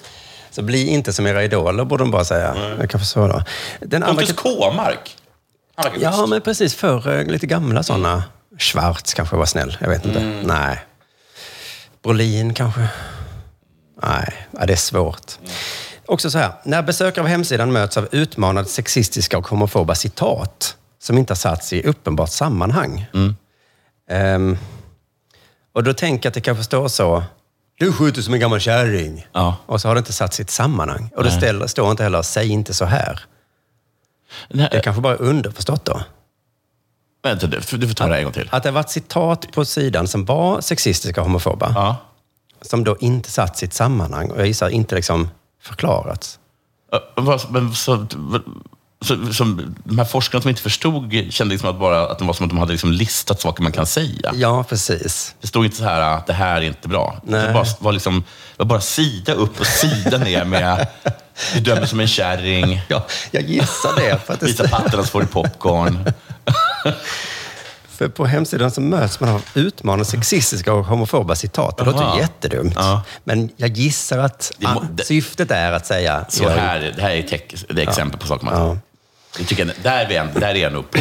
Så bli inte som era idoler, borde de bara säga. Jag kan förstå då. Den andra...
Pontus Kåmark. Han verkar
Ja,
schysst.
men precis. Förr, eh, lite gamla sådana. Schwarz kanske var snäll. Jag vet inte. Nej. Brolin kanske. Nej, ja, det är svårt. Också så här. När besökare av hemsidan möts av utmanande sexistiska och homofoba citat som inte har satts i uppenbart sammanhang. Ehm, och då tänker jag att det kanske står så. Du skjuter som en gammal kärring.
Ja.
Och så har det inte satt sitt sammanhang. Och det
Nej.
ställer, står inte heller, säg inte så här.
Nej,
Det är kanske bara är underförstått då.
Vänta, du får du får ta det här en gång till.
Att det har varit citat på sidan som var sexistiska och homofoba,
Ja.
som då inte satt sitt sammanhang och jag gissar inte liksom förklarats.
Eh, vad- Men så, så, som, de här forskarna som inte förstod kände liksom att, bara, att det var som att de hade liksom listat saker man kan säga.
Ja, precis.
Det stod inte så här att det här är inte bra.
Nej.
Det bara, var, liksom, det var bara sida upp och sida ner med du dömer som en kärring,
Ja, jag gissar det. För, att
vita
det
pattarna så får du popcorn.
för på hemsidan så möts man av utmanande sexistiska och homofoba citat. Det låter
Aha.
ju jättedumt.
Ja.
Men jag gissar att
Det må-
ah,
det-
syftet är att säga...
Så här, det här är, tech, det är exempel på saker man
Ja.
jag tycker, jag- där, är vi en, där är jag nog på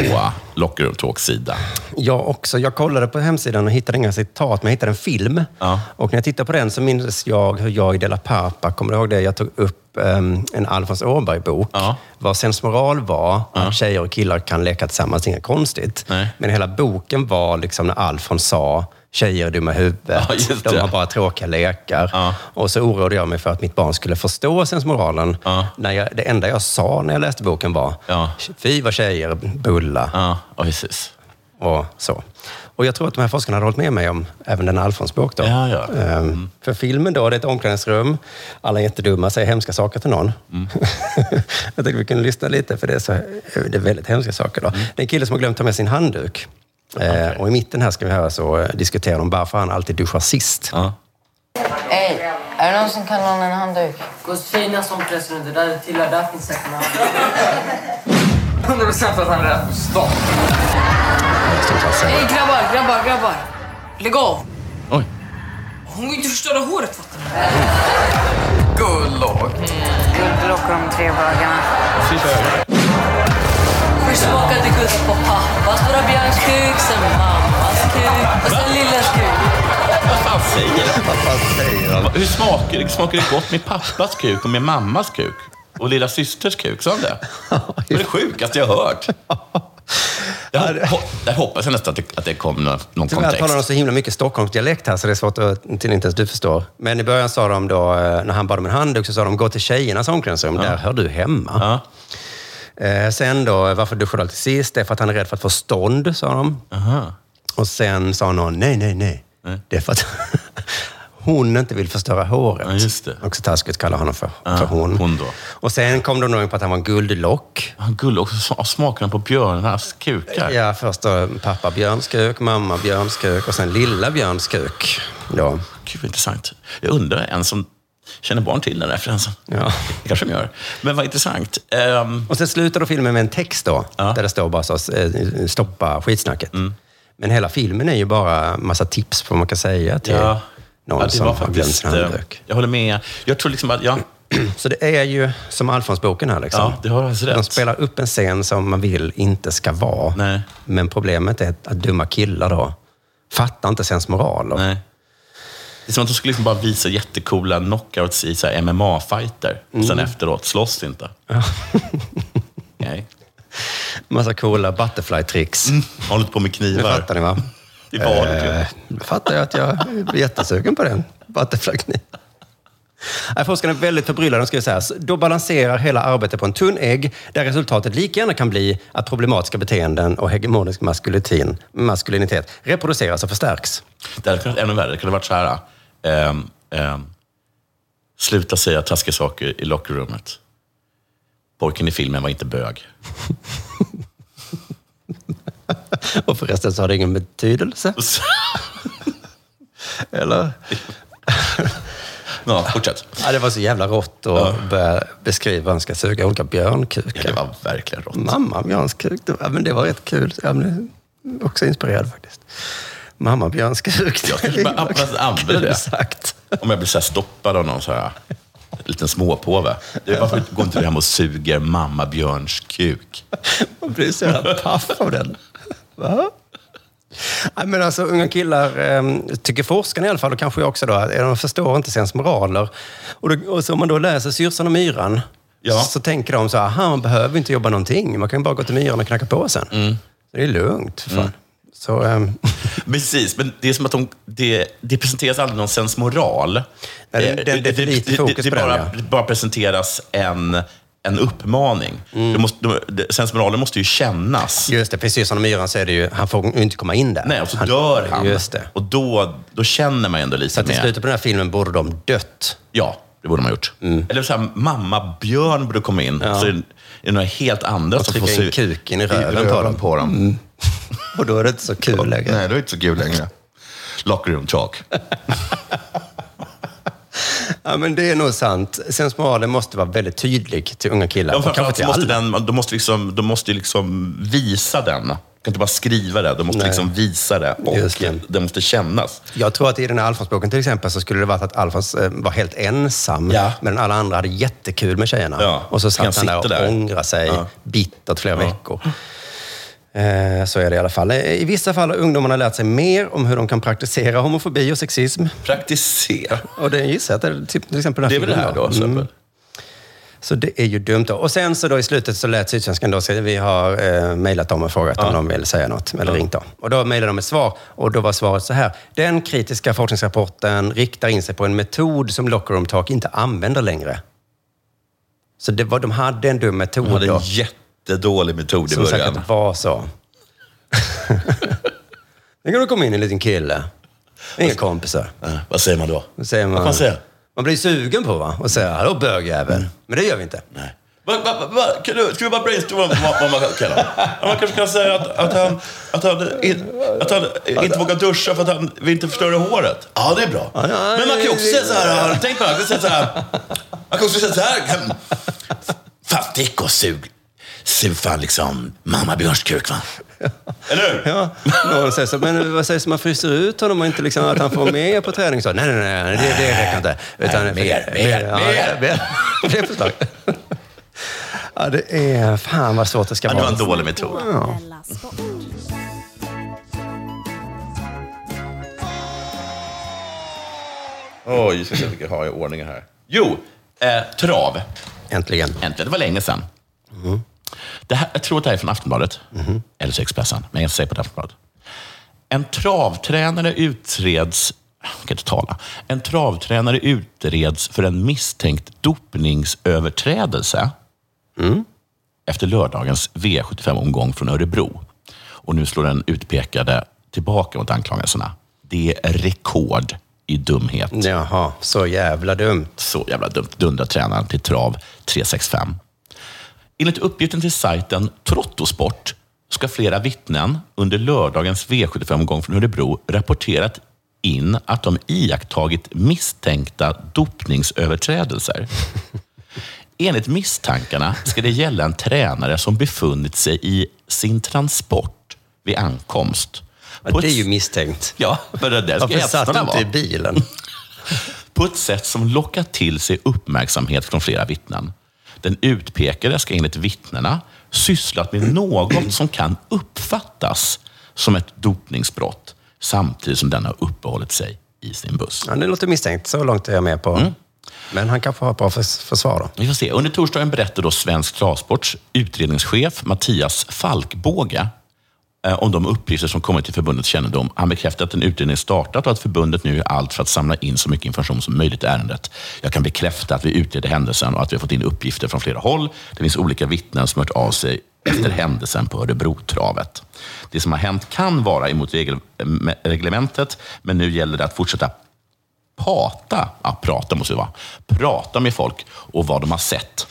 Locker Room Talks sida.
Jag också. Jag kollade på hemsidan och hittade inga citat, men jag hittade en film.
Ja.
Och när jag tittade på den så minns jag hur jag i Della Pappa, kommer du ihåg det? Jag tog upp em, en Alfons Åberg-bok.
Ja.
Vad sensmoral var, att tjejer och killar kan leka tillsammans, inget konstigt.
Nej.
Men hela boken var liksom när Alfons sa, tjejer är dumma i huvudet,
Ja, just
de
det.
har bara tråkiga lekar.
Ja.
Och så oroade jag mig för att mitt barn skulle förstå sensmoralen.
Ja.
När jag, det enda jag sa när jag läste boken var,
Ja.
fy vad tjejer bulla
Ja, ja, precis.
och så. Och jag tror att de här forskarna hade hållit med mig om även den Alfons-bok. Då.
Ja, Mm. ja.
Ehm, För filmen då, det är ett omklädningsrum. Alla är jättedumma, säger hemska saker till någon.
Mm.
jag tänkte vi kunde lyssna lite, för det är, så, det är väldigt hemska saker. Då.
Mm.
Det är en kille som har glömt ta med sin handduk. Eh, Och i mitten här ska vi höra så eh, diskuterar de varför han alltid duschar sist.
Ja.
Hej! Är det någon som kan låna en handduk?
Kostfina som pressen det där till där finns säkert en handduk. 100 procent att han är rätt på stan.
Hej grabbar, grabbar, grabbar. Lägg av.
Oj.
Hon vill inte förstöra håret fattar
Gullåk.
du. Guldlock och de tre bögarna.
Vi smakade guld på pappas stora Björns kuk, sen mammas kuk och sen lillas kuk.
Vad fan säger han? Hur smakar det? Smakar det gott med pappas kuk och med mammas kuk? Och lilla systers kuk? Sa han det? Det var det sjukaste jag hört. Jag, hop- jag hoppas jag nästan att det, att det kom någon, någon
Tyvärr talar de
kontext.
så himla mycket Stockholmsdialekt här, så det är svårt att till inte ens du förstår. Men i början sa de då, eh, när han bad om en handduk, så sa de gå till tjejernas omklädningsrum, där hör du hemma. Eh, sen då, varför duschar du alltid sist? Det är för att han är rädd för att få stånd, sa de. Och sen sa någon, nej, nej, nej. Det är för att hon inte vill förstöra håret. Ja, just det. Också taskigt kalla honom för, för hon. hon då. Och sen kom de nog in på att han var en guldlock.
Han guldlock? Så smakar han på björnarnas kukar?
Ja, först då pappa Björns kuk, mamma Björns kuk och sen lilla Björns kuk. Då.
Gud, vad intressant. Jag undrar en som känner barn till den här referensen.
Ja.
Det kanske de gör. Men vad intressant. Ehm,
Och sen slutar då filmen med en text då, där det står bara så, eh, stoppa skitsnacket.
Mm.
Men hela filmen är ju bara massa tips på vad man kan säga till
Ja.
någon
Ja, det
som
var
har glömt
faktiskt...
sin
eh,
handduk.
Jag håller med. Jag tror liksom att... Ja,
Så det är ju som Alfons-boken här. Liksom.
Ja, det har alltså
De
rätt.
spelar upp en scen som man vill inte ska vara. Men problemet är att dumma killar då fattar inte sens moral.
Nej. Det är som att de skulle liksom bara visa jättecoola knockouts i så här MMA-fighter. Och sen
Mm.
efteråt, slåss inte. Nej.
Massa coola butterfly-tricks.
Mm, Håller på med knivar.
Nu fattar ni va? Eh.
I typ. valet, ja.
Nu fattar jag att jag är jättesugen på den butterfly-kniv. Nej, Forskarna är väldigt förbryllade. De skriver så här. "Så Då balanserar hela arbetet på en tunn ägg där resultatet lika gärna kan bli att problematiska beteenden och hegemonisk maskulitin, maskulinitet reproduceras och förstärks.
Det hade kunnat ännu värre. Det kunde varit så här. ehm, ehm, sluta säga taskiga saker i lockerrummet. Pojken i filmen var inte bög.
Och förresten så har det ingen betydelse. Eller?
Ja, fortsätt.
Ja, det var så jävla rått att börja beskriva hur man ska suga olika björnkukar. Det
var verkligen rått.
Mamma björnskuk, det var, ja, men det var rätt kul. Ja, men jag är också inspirerad faktiskt. Mamma björnskuk.
Jag kanske bara använder- använder det. Om jag blir så här stoppad av någon så här liten småpåve. Det är varför går inte du hem och suger mamma björns kuk?
Man blir så jävla paff av den. Va? Nej, men alltså, unga killar, ehm, tycker forskarna i alla fall, och kanske jag också, då, att eh, de förstår inte sens moraler. Och, då, och så om man då läser Syrsan och Myran, så tänker de så här, "Aha, man behöver inte jobba någonting. Man kan bara gå till Myran och knacka på sen.
Mm.
Så det är lugnt, för fan. Så, ehm,
Precis, men det är som att de, det, det presenteras aldrig någon sensmoral.
Nej, den-
Eh,
den- det är för lite fokus
det, det,
på den,
bara,
ja.
det bara presenteras en, en uppmaning.
Mm.
Det måste, det, sensmoralen måste ju kännas.
Just det, precis som Myran säger det ju, han får ju inte komma in där.
Nej, och så dör han.
Just det.
Och då, då känner man ju ändå lite
Så till
mer.
slutet på den här filmen borde de dött.
Ja, det borde man ha gjort.
Mm.
Eller så här, mamma björn borde komma in. Så är det- är det några helt andra
Och trycka in kuken i röven på dem.
på dem.
Och då är det inte så kul längre.
Nej, då är det inte så kul längre. Lockroom talk.
Ja, men det är nog sant. Sensmoralen måste vara väldigt tydlig till unga killar.
Ja,
Och kanske
framförallt
till
så måste
alla.
den, de måste liksom, de måste ju liksom visa den. De kan inte bara skriva det, de måste
Nej.
liksom visa det. Och det. måste kännas.
Jag tror att i den här Alfons-boken till exempel så skulle det varit att Alfons eh, var helt ensam,
Ja.
men alla andra hade jättekul med tjejerna.
Ja,
Och så
så han
satt han där och
sitter där.
ångrade sig
Ja.
bittert flera veckor. Eh, Så är det i alla fall. Eh, I vissa fall har ungdomarna lärt sig mer om hur de kan praktisera homofobi och sexism.
Praktisera?
Och det gissar jag att det är typ, till exempel den
Det är väl det här
filmen Mm.
då, till exempel.
Så det är ju dumt. Då. Och sen så då i slutet så lät Sydsvenskan då säga vi har eh, mejlat dem och frågat om de vill säga något, eller ringt dem. Och då mejlade de ett svar och då var svaret så här. Den kritiska forskningsrapporten riktar in sig på en metod som Locker Room Talk inte använder längre. Så det var, de hade en dum metod
De hade en
då,
jättedålig metod i
som
början.
säkert var så. Nu kan du komma in en liten kille. Inga kompisar.
Vad säger man då?
Vad säger man?
Vad kan man säga? Mm.
Man blir sugen på va? Och säga, hallå bögjävel. Men det gör vi inte. Nej.
Va, va, va, va, kan du, ska vi bara brainstorma om vad, vad man kan kalla honom? Ja, Man kanske kan säga att, att han, att han, i- att han inte vågar duscha för att han vill inte förstöra håret. Ja, det är bra. Men man kan ju också säga så här, har du tänkt på det? Man kan säga så här, man kan också säga så här. kan- Fan, stick och sug. Sug fan liksom mamma Björns kuk va? Eller hur?
Ja, någon säger så. Men vad sägs om man fryser ut honom och inte liksom att han får mer på träning? Så, nej, nej, nej, nej, det, det räcker inte.
Nej, mer, mer,
ja,
mer.
mer. Fler förslag. Ja, det är... Fan vad svårt det ska
Ja, det
vara.
var en dålig metod.
Ja.
Oj, ska se vilka har jag i ordning här. Jo, eh, trav.
Äntligen.
Äntligen. Det var länge sedan. Det här, jag tror att det här är från Aftonbladet. Eller så Expressen, men jag är inte säker på att det är Aftonbladet. En travtränare utreds... Jag kan inte tala. En travtränare utreds för en misstänkt dopningsöverträdelse efter lördagens V75-omgång från Örebro. Och nu slår den utpekade tillbaka mot anklagelserna. Det är rekord i dumhet.
Jaha, så jävla dumt.
Så jävla dumt, dundrar tränaren till trav 365. Enligt uppgiften till sajten Trottosport ska flera vittnen under lördagens V75-omgång från Örebro rapporterat in att de iakttagit misstänkta dopningsöverträdelser. Enligt misstankarna ska det gälla en tränare som befunnit sig i sin transport vid ankomst.
Ja, det är ju misstänkt.
Ja, men det där ska
Varför satt
hästarna
du
vara
inte i bilen?
på ett sätt som lockar till sig uppmärksamhet från flera vittnen. Den utpekade ska enligt vittnena sysslat med något som kan uppfattas som ett dopningsbrott samtidigt som den har uppehållit sig i sin buss.
Ja, det låter misstänkt. Så långt är jag med på.
Mm.
Men han kanske har ett bra förs- försvar då.
Vi får se. Under torsdagen berättade då Svensk Travsports utredningschef Mattias Falkbåge eh, om de uppgifter som kommit till förbundets kännedom. Han bekräftade att en utredning startat och att förbundet nu gör allt för att samla in så mycket information som möjligt i ärendet. Jag kan bekräfta att vi utreder händelsen och att vi har fått in uppgifter från flera håll. Det finns olika vittnen som hört av sig efter händelsen på Örebrotravet. Det som har hänt kan vara emot regel- eh, reglementet, men nu gäller det att fortsätta prata, ja, prata måste det vara, prata med folk och vad de har sett.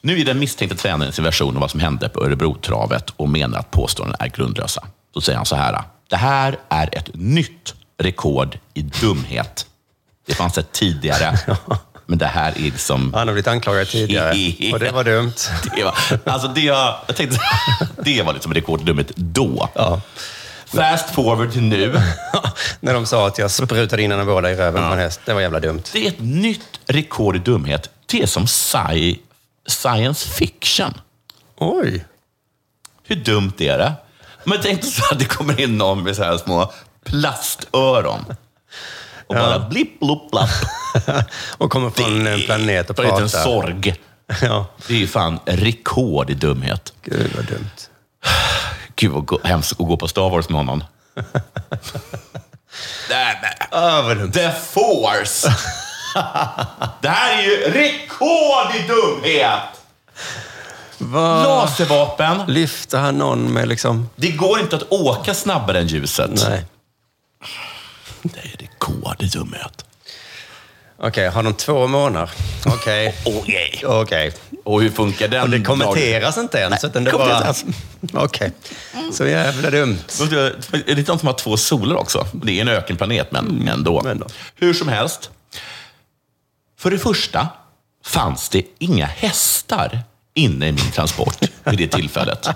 Nu är den misstänkte tränaren sin version av vad som hände på Örebrotravet och menar att påståenden är grundlösa. Då säger han så här. Det här är ett nytt rekord i dumhet. Det fanns ett tidigare, men det här är liksom...
Han har blivit anklagad tidigare och det var dumt.
Det var, alltså det, jag, jag tänkte, det var liksom rekorddummet då. Fast forward till nu.
När de sa att jag sprutade in anabola i röven på en häst. Det var jävla dumt.
Det är ett nytt rekord i dumhet. Det är som sci- science fiction.
Oj!
Hur dumt är det? Men tänk dig så att det kommer in någon med så här små plastöron. Och bara blipp, blopp, blapp.
och kommer från en planet och
Bara en liten
pratar.
sorg.
Ja.
Det är ju fan rekord i dumhet.
Gud vad dumt.
Gud vad gå- hemskt att gå på Star Wars med honom. Nej, men.
Ah,
The Force! det här är ju rekord i dumhet!
Vad-
Laservapen.
Lyfte han någon med liksom...
Det går inte att åka snabbare än ljuset.
Nej.
Rekord i dumhet.
Okej, har de två månader? Okej.
Okej.
Och
hur funkar den?
Och det kommenteras inte ens. utan det bara...
kommenteras.
Okej. Så jävla dumt.
Är eh, det inte de som har två soler också? Det är en ökenplanet, men
Mm.
ändå. Hur som helst. För det första fanns det inga hästar inne i min transport vid det tillfället.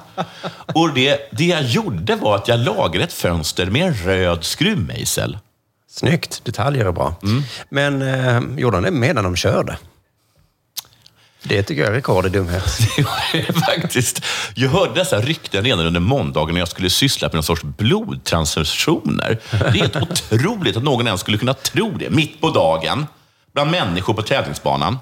Och det, det jag gjorde var att jag lagrade ett fönster med en röd skruvmejsel.
Snyggt. Detaljer är bra. Men eh, gjorde han det medan de körde? Det tycker jag är rekord i dumhet.
Faktiskt. Jag hörde dessa rykten redan under måndagen när jag skulle syssla med någon sorts blodtransfusioner. Det är helt otroligt att någon ens skulle kunna tro det, mitt på dagen, bland människor på tävlingsbanan.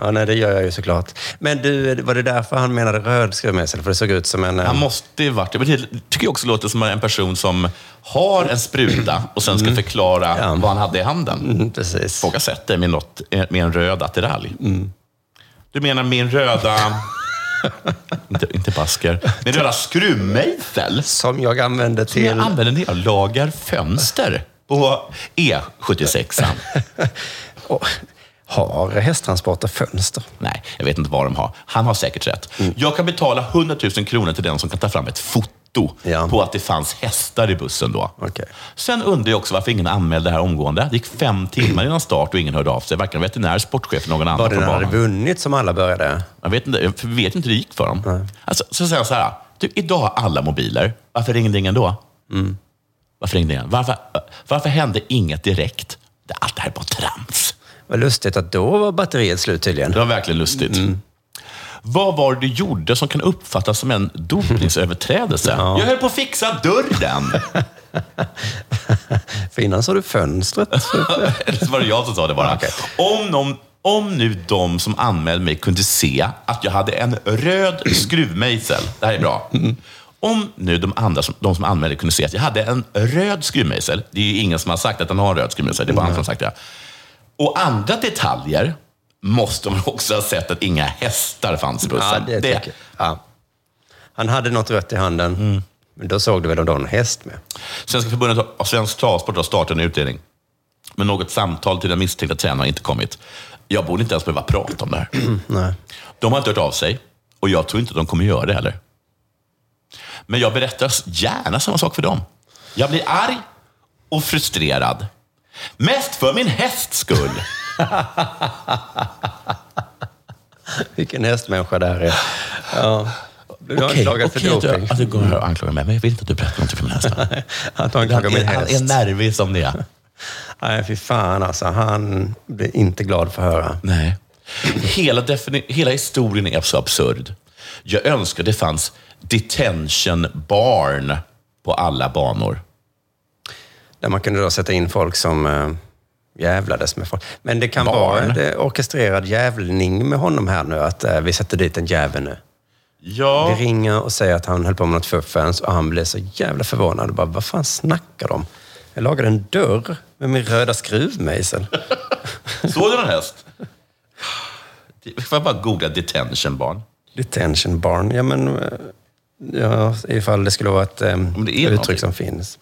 Ja, nej, det gör jag ju såklart. Men du, var det därför han menade röd skruvmejsel? För det såg ut som en... eh,
Han måste ju varit... men Det tycker jag också låter som en person som har en spruta och sen ska förklara vad han hade i handen.
Mm, precis.
Folk har sett dig med, något, eh, med en röd attiralj.
Mm.
Du menar min röda... inte, inte basker. Min röda skruvmejsel.
Som jag använder
Som jag
till-
använder när jag lagar fönster på E76.
Och, Har hästtransporter fönster?
Nej, jag vet inte vad de har. Han har säkert rätt.
Mm.
Jag kan betala 100 000 kronor till den som kan ta fram ett foto på att det fanns hästar i bussen då. Sen undrar jag också varför ingen anmälde det här omgående. Det gick fem timmar innan start och ingen hörde av sig. Varken veterinär, sportchef eller någon annan
Var det
från
när han
banan.
hade vunnit som alla började?
Jag vet inte, jag vet inte hur det gick för dem. Alltså, så säger jag så här, du, idag har alla mobiler. Varför ringde ingen då? Mm. Varför ringde ingen? Varför, varför hände inget direkt? Det- Allt det här är bara trams.
Vad lustigt att då var batteriet slut tydligen. Det
var verkligen lustigt. Mm. Vad var det du gjorde som kan uppfattas som en dopningsöverträdelse?
Ja.
Jag höll på att fixa dörren.
För innan sa du fönstret.
Eller så var det jag som sa det bara. Om, någon, om nu de som anmälde mig kunde se att jag hade en röd skruvmejsel. Det här är bra. Om nu de andra som, de som anmälde kunde se att jag hade en röd skruvmejsel. Det är ju ingen som har sagt att han har en röd skruvmejsel. Det är bara han som har sagt det. Och andra detaljer måste de också ha sett att inga hästar fanns i bussen.
Ja, det tycker jag. Ja. Han hade något rött i handen.
Mm.
Men då såg du väl om det var en häst med?
Svenska förbundet av svensk travsport har startat en utredning. Men något samtal till den misstänkta tränaren har inte kommit. Jag borde inte ens behöva prata om det här.
Nej.
De har inte hört av sig och jag tror inte de kommer göra det heller. Men jag berättar gärna samma sak för dem. Jag blir arg och frustrerad. Mest för min hästs skull.
Vilken hästmänniska det här är. Ja. Du har anklagad för
att du-
doping.
att du går och anklagar mig, men jag vill inte att du berättar någonting för min häst.
Att du anklagar min
Han är-
häst.
han är nervig som det är.
Nej, fy fan alltså. Han blir inte glad för att höra.
Nej. Hela, defini- hela historien är så absurd. Jag önskar det fanns detention barn på alla banor.
Där man kunde då sätta in folk som eh, jävlades med folk. Men det kan
Barn.
vara en eh, orkestrerad jävling med honom här nu. Att eh, vi sätter dit en jävel nu.
Ja.
Vi ringer och säger att han höll på med något fuffens och han blev så jävla förvånad. Och bara, vad fan snackar de om? Jag lagade en dörr med min röda skruvmejsel.
Såg du någon häst? Får jag bara googla detention barn?
Detention barn. Ja, men eh, ja, ifall det skulle vara ett eh,
det är
uttryck
någonting.
som finns.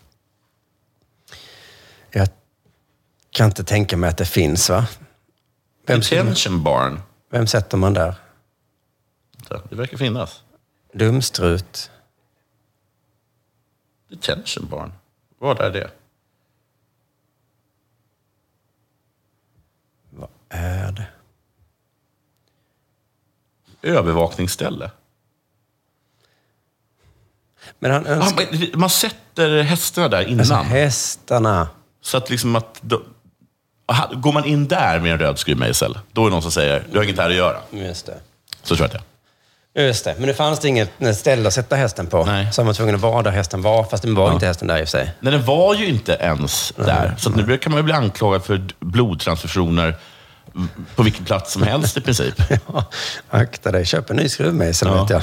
Jag kan inte tänka mig att det finns, va?
Detention barn?
Vem sätter man där?
Det verkar finnas.
Dumstrut?
Detention barn? Vad är det?
Är det?
Övervakningsställe?
Men han
Ah,
önskar...
men man sätter hästarna där innan.
Alltså, hästarna.
Så att liksom att... De, Aha, går man in där med en röd skruvmejsel, då är det någon som säger du har inget här att göra.
Just det.
Så tror jag att det är.
Just det, men det fanns det inget ställe att sätta hästen på. Så han var tvungen att vara där hästen var, fast den var inte hästen där i och för sig.
Nej, den var ju inte ens där. Så att nu kan man ju bli anklagad för blodtransfusioner på vilken plats som helst i princip.
ja, akta dig, köp en ny skruvmejsel vet jag.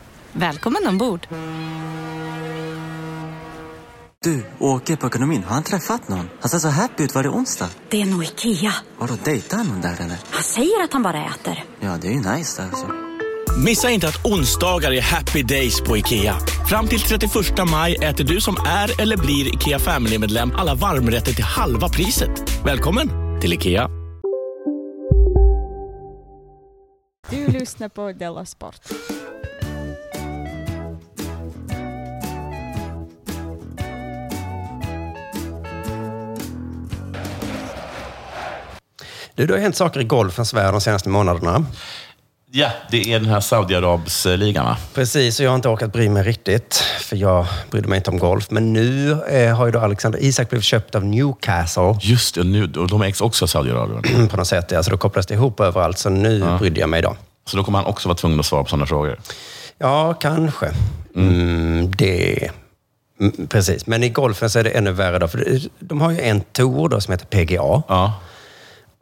Välkommen ombord!
Du, åker på ekonomin. Har han träffat någon? Han ser så happy ut. Var det onsdag?
Det är nog Ikea.
Har du dejtar han någon där eller?
Han säger att han bara äter.
Ja, det är ju nice alltså.
Missa inte att onsdagar är happy days på IKEA. Fram till 31 maj äter du som är eller blir IKEA Family-medlem alla varmrätter till halva priset. Välkommen till IKEA.
Du lyssnar på Della Sport.
Du, det har hänt saker i golfens värld de senaste månaderna.
Ja, det är den här Saudiarabsligan va?
Precis, och jag har inte orkat bry mig riktigt, för jag brydde mig inte om golf. Men nu eh, har ju då Alexander Isak blivit köpt av Newcastle.
Just det, nu, och de ägs också av Saudiarabien.
på något sätt, ja. Så då kopplas det ihop överallt, så nu brydde jag mig då.
Så då kommer han också vara tvungen att svara på sådana frågor?
Ja, kanske. Mm, det... Mm, Precis, men i golfen så är det ännu värre. Då, för det- de har ju en tour då som heter PGA.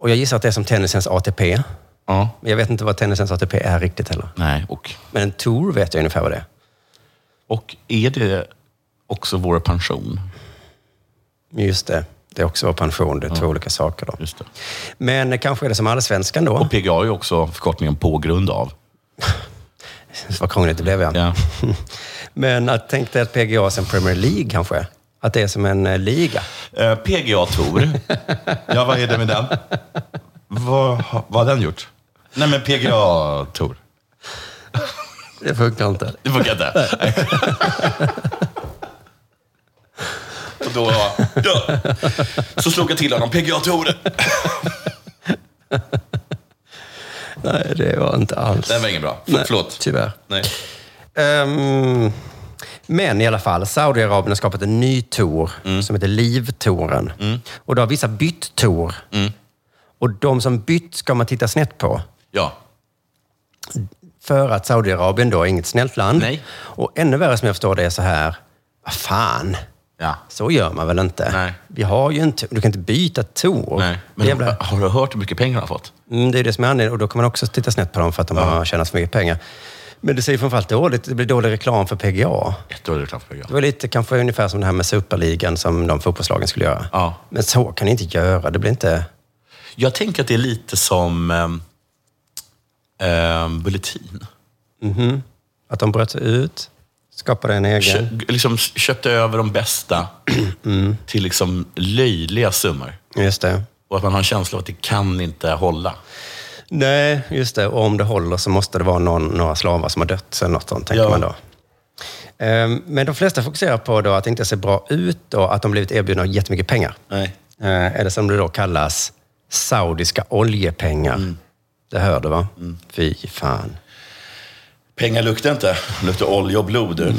Och jag gissar att det är som tennisens ATP. Men jag vet inte vad tennisens ATP är riktigt heller.
Nej, och...
Men en tour vet jag ungefär vad det är.
Och är det också vår pension?
Just det. Det är också vår pension. Det är två olika saker. Då. Men eh, kanske är det som allsvenskan då.
Och PGA är ju också förkortningen på grund av.
Vad krångligt det blev, ja. Men att, tänk dig att PGA är som Premier League kanske. Att det är som en eh, liga.
PGA Tour. ja, vad är det med den? Vad, har- vad har den gjort? Nej, men PGA Tour.
Det funkar inte.
Det funkar inte. Och då... Ja. Så slog jag till honom. PGA Tour.
Nej, det var inte alls.
Den var ingen bra.
Nej, Typ.
Förlåt.
Tyvärr.
Nej.
Ehm, men i alla fall, Saudiarabien har skapat en ny tour som heter Livtouren. Och då har vissa bytt tour. Och de som bytt ska man titta snett på.
Ja.
För att Saudiarabien då är inget snällt land. Och ännu värre som jag förstår det är så här, vad fan, så gör man väl inte? Vi har ju en tour, du kan inte byta tour. Nej,
Men har du hört hur mycket pengar han har fått?
Mm, det är det som är anledningen. Och då kan man också titta snett på dem för att de har tjänat för mycket pengar. Men det säger framförallt dåligt. Det blir dålig reklam för PGA.
Jättedålig reklam för PGA.
Det var lite kanske ungefär som det här med Superligan som de fotbollslagen skulle göra. Men så kan ni inte göra. Det blir inte...
Jag tänker att det är lite som ehm, ehm, Bulletin.
Mhm. Att de bröt sig ut, skapade en egen...
Kö, liksom köpte över de bästa till liksom löjliga summor.
Just det.
Och att man har en känsla av att det kan inte hålla.
Nej, just det. Och om det håller så måste det vara någon, några slavar som har dött eller något sånt, tänker man då. Ehm, Men de flesta fokuserar på då att det inte ser bra ut och att de blivit erbjudna jättemycket pengar.
Nej.
Eh, Eller som det då kallas, saudiska oljepengar. Det hör du va? Fy fan.
Pengar luktar inte. Luktar olja och blod. du.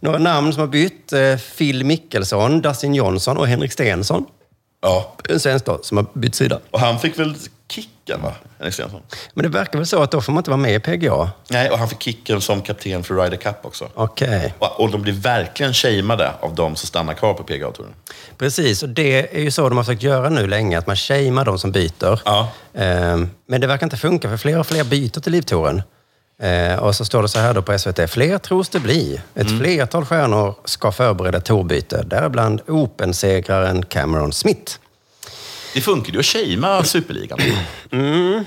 Några namn som har bytt, eh, Phil Mickelson, Dustin Johnson och Henrik Stenson.
Ja.
En svensk då, som har bytt sida.
Och han fick väl kicken, va? Henrik Stenson.
Men det verkar väl så att då får man inte vara med i PGA?
Nej, och han fick kicken som kapten för Ryder Cup också.
Okej.
Och, och de blir verkligen shameade av de som stannar kvar på PGA-touren.
Precis, och det är ju så de har försökt göra nu länge, att man shamear de som byter. Ehm, Men det verkar inte funka, för fler och fler byter till Livtouren. Ehm, Och så står det så här då på SVT, fler tros det bli. Ett flertal stjärnor ska förbereda tourbyte, däribland Open-segraren Cameron Smith.
Det funkar ju att shamea Superligan.
Mm.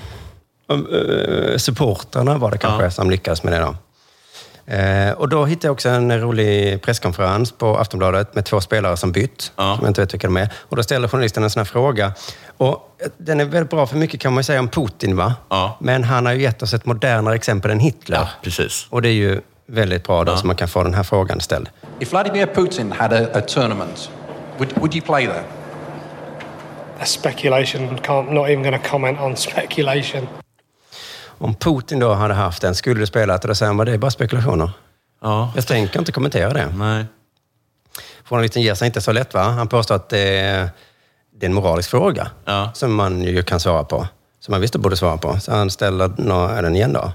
Och, eh, supportrarna var det kanske som lyckades med det då. Eh, och då hittade jag också en rolig presskonferens på Aftonbladet med två spelare som bytt, som jag inte vet vilka de är. Och då ställde journalisten en sån här fråga. Och eh, den är väldigt bra, för mycket kan man ju säga om Putin, va? Men han har ju gett oss ett modernare exempel än Hitler.
precis.
Och det är ju väldigt bra då, så man kan få den här frågan ställd.
If Vladimir Putin had a, a tournament, would, would you play there?
That's speculation. Can't, not even going to comment on speculation.
Om Putin då hade haft den, skulle du spela det? Då säger han, "Vad, det är bara spekulationer. Jag tänker inte kommentera det.
Nej.
Journalisten ger sig inte så lätt, va? Han påstår att det är, det är en moralisk fråga som man ju kan svara på. Som man visst borde svara på. Så han ställer nå- den igen då.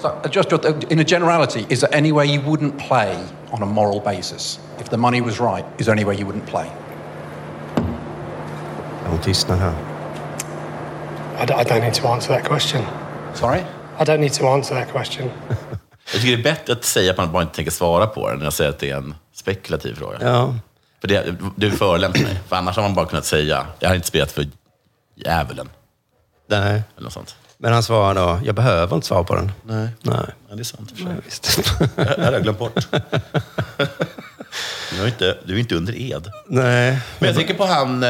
So, uh, just just, uh, in a generality, is there any way you wouldn't play on a moral basis? If the money was right, is there any way you wouldn't play?
Hon tystnar här.
I, d- I don't need to answer that question.
Sorry?
I don't need to answer that question.
Jag tycker det är bättre att säga att man bara inte tänker svara på den, än att säga att det är en spekulativ fråga.
Ja.
För det, du förolämpar mig. För annars har man bara kunnat säga, jag har inte spelat för djävulen.
Nej.
Eller något sånt.
Men han svarar då, jag behöver inte svara på den.
Nej.
Nej.
Ja, det är sant.
Nej, visst.
Det här har jag glömt bort. Du är, inte, du är inte under ed.
Nej.
Men jag tänker på han, eh,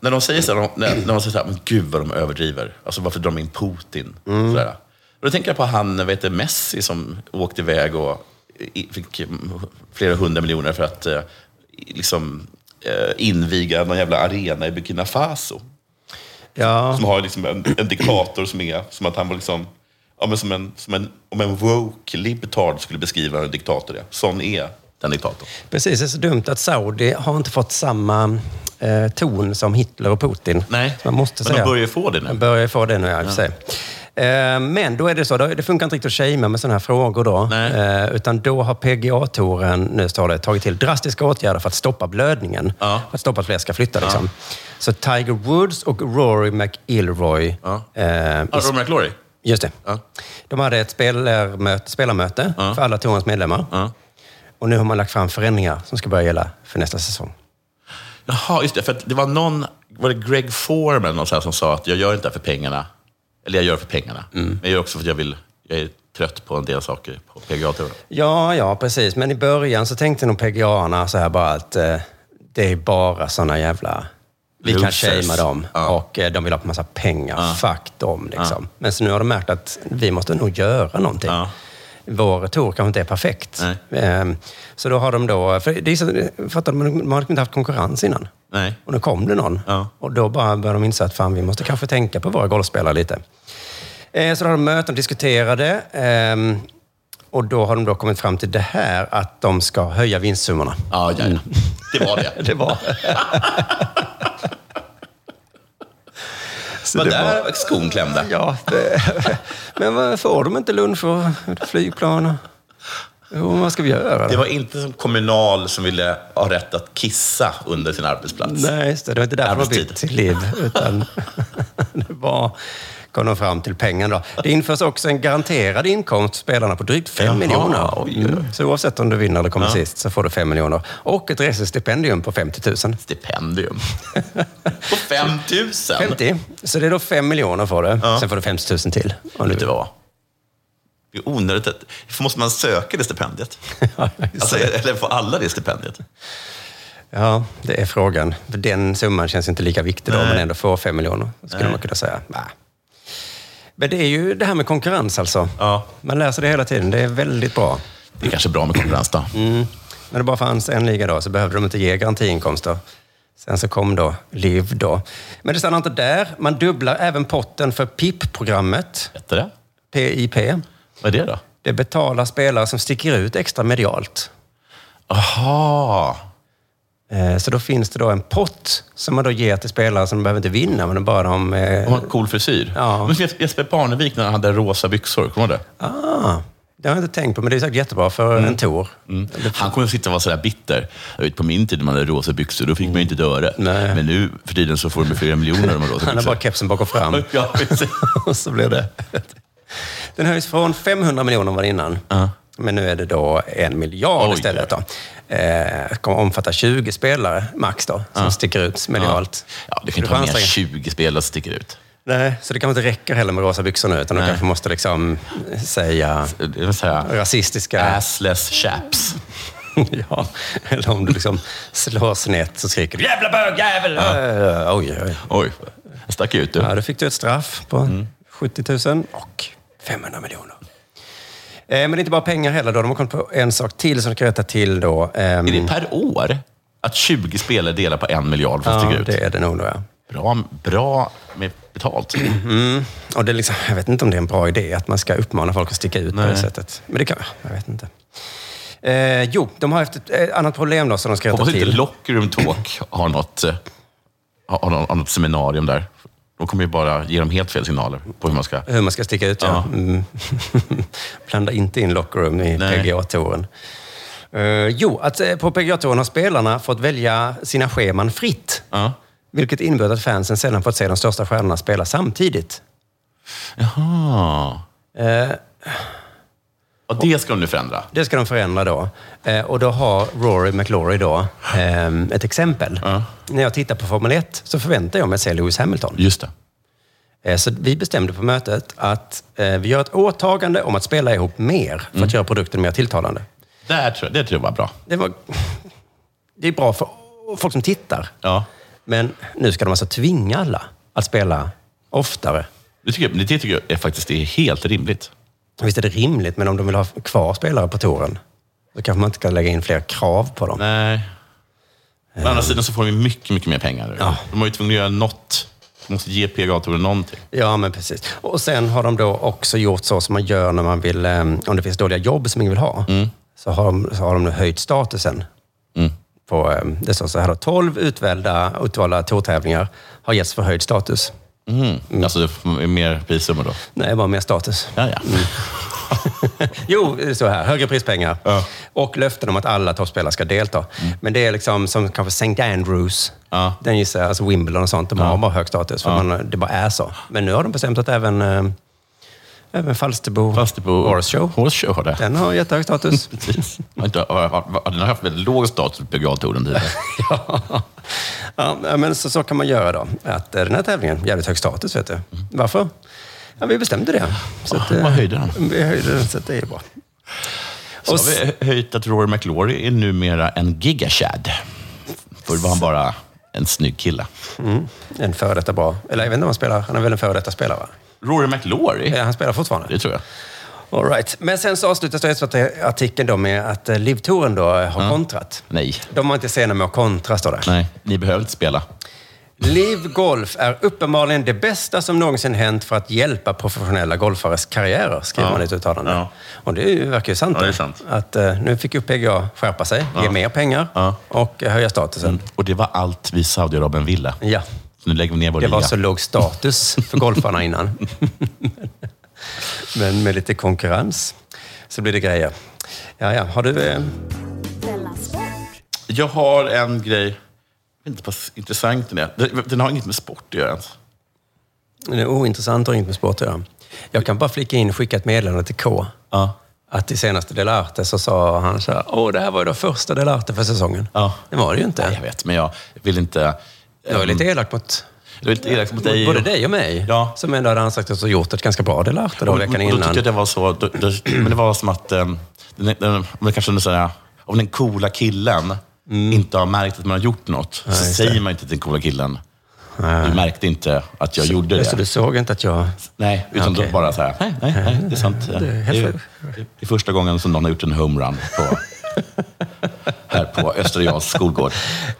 när de säger så här, när, när de säger så här, men gud vad de överdriver. Alltså varför drar de in Putin?
Mm.
Sådär. Då tänker jag på han, vad heter det, Messi som åkte iväg och i- fick mm, flera hundra miljoner för att eh, i- liksom, eh, inviga någon jävla arena i Burkina Faso.
Ja.
Som har liksom en, en diktator som är som att han var liksom, ja, men som en, som en, om en woke libertard skulle beskriva hur en diktator är. Sån är den diktatorn.
Precis, det är så dumt att Saudi har inte fått samma eh, ton som Hitler och Putin.
Nej,
man måste
men de
säga.
börjar ju få det nu.
De börjar ju få det nu, ja, i och för sig. Eh, Men då är det så, då- det funkar inte riktigt att shamea med sådana här frågor då. Eh, Utan då har PGA-touren, nu står det, tagit till drastiska åtgärder för att stoppa blödningen. För att stoppa att fler ska flytta liksom. Så Tiger Woods och Rory McIlroy... Ja.
Ah, Rory McIlroy?
Just det. De hade ett spelarmöte, spelarmöte för alla tourens medlemmar. Och nu har man lagt fram förändringar som ska börja gälla för nästa säsong.
Jaha, just det. För att det var någon, var det Greg Foreman eller någon sån här som sa att jag gör inte det här för pengarna. Eller jag gör det för pengarna.
Mm.
Men jag gör också för att jag vill, jag är trött på en del saker på PGA-touren.
Ja, ja, precis. Men i början så tänkte nog PGA-arna så här bara att eh, det är bara såna jävla... Vi kan
Losers.
shamea dem och eh, de vill ha på massa pengar. Fuck dem liksom.
Ja.
Men så nu har de märkt att vi måste nog göra någonting. Vår tour kanske inte är perfekt. Ehm, så då har de då... För det är så, fattar du, man har inte haft konkurrens innan.
Nej.
Och nu kom det någon. Och då bara började de inse att fan, vi måste kanske tänka på våra golfspelare lite. Eh, Så då har de möten och diskuterade. ehm, Och då har de då kommit fram till det här att de ska höja vinstsummorna.
Ja, ja, ja. Det var det.
Mm. det var
Men där var skon klämda.
Ja, det... Men vad får de inte lunch och flygplan? Jo, vad ska vi göra?
Det
då?
var inte som Kommunal som ville ha rätt att kissa under sin arbetsplats.
Nej, just det. Det var inte därför de
Arbetstid.
bytte sitt liv. Utan det var, kom de fram till pengarna. Då. Det införs också en garanterad inkomst för spelarna på drygt 5
Jaha,
miljoner.
oj,
Mm. Så oavsett om du vinner eller kommer
Ja.
sist så får du 5 miljoner. Och ett resestipendium på 50 000.
Stipendium? På 5 000?
50. Så det är då 5 miljoner får du. Sen får du 50 000 till. Om
Vet du vad? Det är onödigt. att- För Måste man söka det stipendiet? alltså, eller får alla det stipendiet?
Ja, det är frågan. För den summan känns inte lika viktig då,
Nej.
om man ändå får 5 miljoner. Skulle
Nej.
man kunna säga. Nej. Men det är ju det här med konkurrens alltså. Man läser det hela tiden. Det är väldigt bra.
Det är kanske bra med konkurrens då.
Mm. Men det bara fanns en liga då, så behövde de inte ge garantiinkomster. Sen så kom då LIV då. Men det stannar inte där. Man dubblar även potten för PIP-programmet.
Heter det?
PIP.
Vad är det då?
Det betalar spelare som sticker ut extra medialt.
Aha.
Eh, Så då finns det då en pott som man då ger till spelare som behöver inte vinna, men det är bara de... eh,
De har en cool frisyr.
Ja.
Men som Jes- Jesper Parnevik när han hade rosa byxor, kommer du ihåg det?
Ah, det har jag inte tänkt på, men det är säkert jättebra för en tour.
Mm. Han kommer att sitta och vara sådär bitter. Jag vet, på min tid när man hade rosa byxor, då fick man ju inte ett öre. Men nu för tiden så får de ju flera miljoner om man har rosa
Han har
byxor.
bara kepsen bak och fram.
Ja, precis.
och så blir det... Den höjs från 500 miljoner var det innan. Men nu är det då en miljard istället. Då. Eh, kommer omfatta 20 spelare max då, som
Ja.
sticker ut medialt.
Ja, du kan inte
får
ha mer än
anstränga-
20 spelare som sticker ut.
Nej, så det kanske inte räcker heller med rosa byxor nu, utan de
Nej.
kanske måste liksom säga rasistiska...
Äh. Assless chaps.
ja, eller om du liksom slår snett så skriker du “Jävla bögjävel!” ja. Oj, oj,
oj. Jag stack ut du.
Ja, då fick du ett straff på
Mm.
70 000 och 500 miljoner. Eh, Men det är inte bara pengar heller. Då. De har kommit på en sak till som de kan rätta till. Då. Ehm, Är
det per år? Att 20 spelare delar på en miljard för att
Ja,
sticka ut?
det är det nog. Då, ja.
Bra, bra med betalt.
Mm. Och det är liksom, jag vet inte om det är en bra idé att man ska uppmana folk att sticka ut på
Nej.
det sättet. Men det kan... Jag vet inte. Eh, jo, de har haft ett eh, annat problem då som de ska rätta
Hoppas inte
till.
Lockroom Talk har något, eh, har, har något, har något seminarium där. De kommer ju bara ge dem helt fel signaler på hur man ska...
Hur man ska sticka ut, ja. Mm. Blanda inte in lockroom i
Nej.
PGA-touren. Eh, jo, att eh, på PGA-touren har spelarna fått välja sina scheman fritt. Vilket innebär att fansen sällan fått se de största stjärnorna spela samtidigt. Eh,
Jaha. och det ska de nu förändra?
Det ska de förändra då. Eh, och då har Rory McLaury då ehm, ett exempel. När jag tittar på Formel 1 så förväntar jag mig att se Lewis Hamilton.
Just det.
Eh, Så vi bestämde på mötet att eh, vi gör ett åtagande om att spela ihop mer för att göra produkten mer tilltalande.
Där tror jag, det tror jag var bra.
Det, var, det är bra för folk som tittar. Men nu ska de alltså tvinga alla att spela oftare.
Det tycker jag, det tycker jag är faktiskt det är helt rimligt.
Visst är det rimligt, men om de vill ha kvar spelare på touren då kanske man inte kan lägga in fler krav på dem.
Nej. Å andra sidan så får de ju mycket, mycket mer pengar. nu. De var ju tvungna att göra något. De måste ge PGA-touren någonting.
Ja, men precis. Och sen har de då också gjort så som man gör när man vill, eh, om det finns dåliga jobb som ingen vill ha, så, har de, så har de nu höjt statusen. På, eh, det står så här då, 12 utvalda, utvalda tourtävlingar har getts förhöjd status.
Mm. Alltså det är mer prissummor då?
Nej, bara mer status.
Ja, ja.
jo, det står här. Högre prispengar. Och löften om att alla toppspelare ska delta.
Mm.
Men det är liksom som kanske St. Andrews. Den gissar jag, alltså Wimbledon och sånt. De har bara hög status. För
Ja.
man, det bara är så. Men nu har de bestämt att även, eh, även Falsterbo, Falsterbo Horse Show.
Horse Show har det.
Den har jättehög status.
Precis. Har inte- har- har- Den har haft väldigt låg status på Grantoren tidigare.
Ja, men så, så kan man göra då. Att eh, den här tävlingen, jävligt hög status vet du. Varför? Ja, vi bestämde det. Så att, eh,
Mm. man höjde den.
Vi höjde den, så att det är ju bra.
Så
Och
har vi höjt att Rory McIlroy är numera en gigachad. Förr var han bara en snygg kille.
Mm, en före detta bra. Eller jag vet inte om han spelar. Han är väl en före detta spelare, va?
Rory McIlroy?
Ja, han spelar fortfarande.
Det tror jag.
All right. Men sen så avslutas då SVT artikeln då med att eh, Livtouren då eh, har kontrat.
Nej.
De var inte sena med att kontra, står det.
Nej, ni behöver inte spela.
Liv Golf är uppenbarligen det bästa som någonsin hänt för att hjälpa professionella golfares karriärer, skriver
Ja.
man i ett uttalande. Och det är ju- verkar ju sant.
Ja, det är
då.
sant.
Att eh, nu fick ju PGA skärpa sig, ge
Ja. Mm.
mer pengar och eh, höja statusen.
Och det var allt vi i Saudiarabien ville.
Ja.
Så nu lägger vi ner vår
Det var
liga.
så låg status för golfarna innan. Men med lite konkurrens så blir det grejer. Ja, ja. Har du... Eh,
Jag har en grej. Jag vet inte vad intressant den är. Den- Den har inget med sport att göra ens.
det är ointressant och inget med sport att göra. Jag kan bara flicka in och skicka ett meddelande till K. Att i senaste Delarte så sa han så här, åh, det här var ju då första Delarte för säsongen.
Ja.
Det var det ju inte.
Nej, jag vet, men jag vill inte...
Det var ju lite elakt mot...
Det var lite elakt mot dig.
Både dig och mig, som ändå hade ansagt och gjort ett ganska bra Delarte då
Och-
veckan
och Då
innan.
tyckte jag det var så... Då, då, men det var som att... Um, den, den, man kanske nu säger, om den coola killen inte har märkt att man har gjort något,
Nej,
så
Mm. just
säger
det.
man inte till den coola killen, du märkte inte att jag
Så-
gjorde det.
Så du såg inte att jag...
Nej, utan
Okej.
då bara så här, nej, nej, nej det är sant. Det
Det är
är,
helt
ju- det är första gången som någon har gjort en homerun på, här på Östra Jarls skolgård.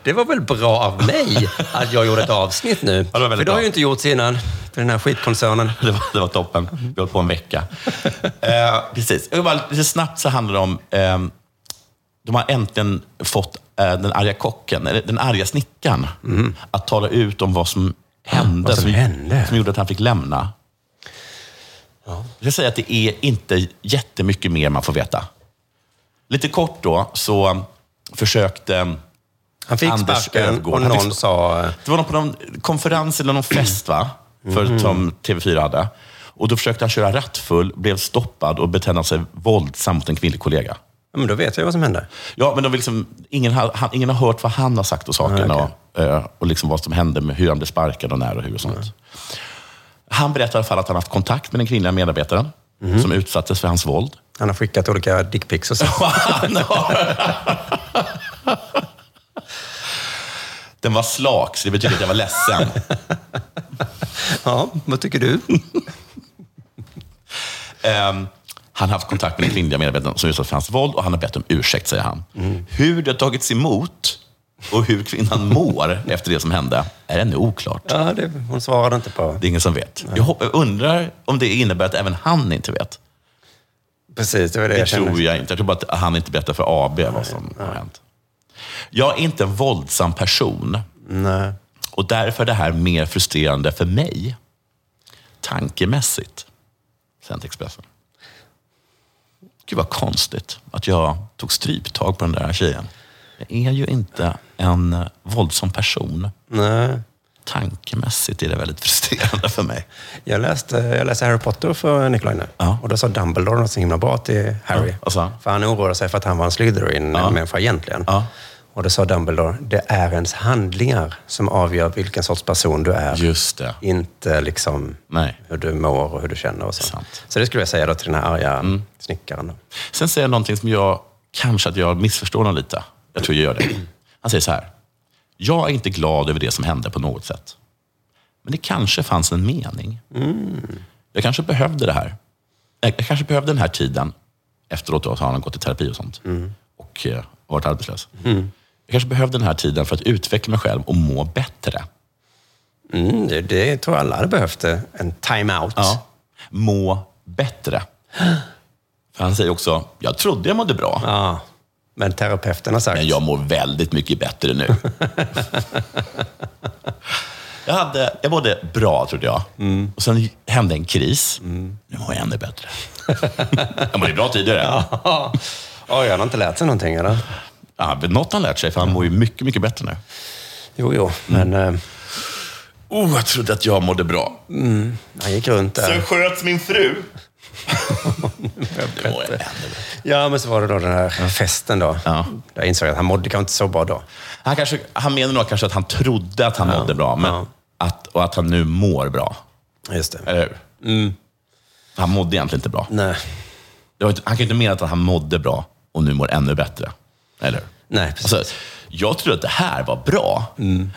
Det var väl bra av mig att jag gjorde ett avsnitt nu?
Ja, det var
För
väldigt
det har
bra.
ju inte gjorts innan, för den här skitkoncernen.
Det var, det var toppen. Vi höll på en vecka. Eh, precis. Jag vill Bara, lite snabbt så handlar det om... ehm, de har äntligen fått eh, den arga kocken, eller den arga snickaren, att tala ut om vad som hände.
Mm. Vad som hände?
Som gjorde att han fick lämna. Jag säger att det är inte jättemycket mer man får veta. Lite kort då, så um, försökte...
Han fick
Anders
sparken
Öfgård.
och
Han fick
någon
sp-
sa...
Det var någon på någon konferens eller någon fest, va? För, Som TV4 hade. Och då försökte han köra rattfull, blev stoppad och betedde sig våldsamt mot en kvinnlig kollega.
Ja, men då vet jag vad som hände.
Ja, men de vill liksom, ingen, har, han, ingen har hört vad han har sagt och sakerna.
Ah, okej.
Och, eh, och liksom vad som hände, med hur han blev sparkad och när och hur och sånt. Han berättar i alla fall att han haft kontakt med den kvinnliga medarbetaren som utsattes för hans våld.
Han har skickat olika dickpics och så.
Han har... Den var slak, så det betyder att jag var ledsen.
Ja, vad tycker du?
Ehm, han har haft kontakt med den kvinnliga medarbetaren som utsatt för hans våld och han har bett om ursäkt, säger han. Hur det har tagits emot och hur kvinnan mår efter det som hände är ännu oklart.
Ja, det, hon svarade inte på...
Det är ingen som vet. Jag hop- jag undrar om det innebär att även han inte vet.
Precis, det var det,
Det
jag kände.
tror jag inte. Jag tror bara att han inte berättar för AB vad som har hänt. Jag är inte en våldsam person
Nej.
och därför är det här mer frustrerande för mig tankemässigt, säger han till Expressen. Gud vad konstigt att jag tog stryptag på den där tjejen. Jag är ju inte en eh, våldsam person.
Nej.
Tankemässigt är det väldigt frustrerande för mig.
Jag läste, jag läste Harry Potter för Nikolaj nu. Och då sa Dumbledore något så himla bra till Harry.
Alltså,
För han oroade sig för att han var en Slytherin-människa egentligen. Och då sa Dumbledore, det är ens handlingar som avgör vilken sorts person du är.
just det.
Inte liksom
Nej.
hur du mår och hur du känner och så. Så det skulle jag säga då till den här arga
Mm.
snickaren. Då.
Sen säger jag någonting som jag kanske att jag missförstår honom lite. Jag tror jag gör det. Han säger så här. Jag är inte glad över det som hände på något sätt. Men det kanske fanns en mening. Jag kanske behövde det här. Jag jag kanske behövde den här tiden. Efteråt då har han gått i terapi och sånt. Och eh, varit arbetslös. Jag kanske behövde den här tiden för att utveckla mig själv och må bättre.
Mm, det, det tror jag alla hade behövt. eh, En time-out.
Ja. Må bättre. För han säger också, jag trodde jag mådde bra.
Ja. Men terapeuten har sagt...
Men jag mår väldigt mycket bättre nu. Jag, hade, jag mådde bra, trodde jag. Och sen hände en kris. Nu mår jag ännu bättre. jag mådde bra tidigare. Ja.
Oj, han har inte lärt sig någonting, eller?
Ja, men något har han lärt sig, för han mår ju mycket, mycket bättre nu.
Jo, jo, men... eh,
Oh, jag trodde att jag mådde bra.
Mm, han gick runt där.
Sen sköts min fru. Nu mår jag bättre.
Ja, men så var det då den här festen då. Där insåg jag att han mådde kanske inte så bra då.
Han, kanske, han menar nog kanske att han trodde att han mådde bra men att, och att han nu mår bra.
Just det.
Eller hur? Han mådde egentligen inte bra.
Nej.
Det var, inte- han kan ju inte mena att han mådde bra och nu mår ännu bättre. Eller hur?
Nej, precis. Mm.
Alltså, jag trodde att det här var bra,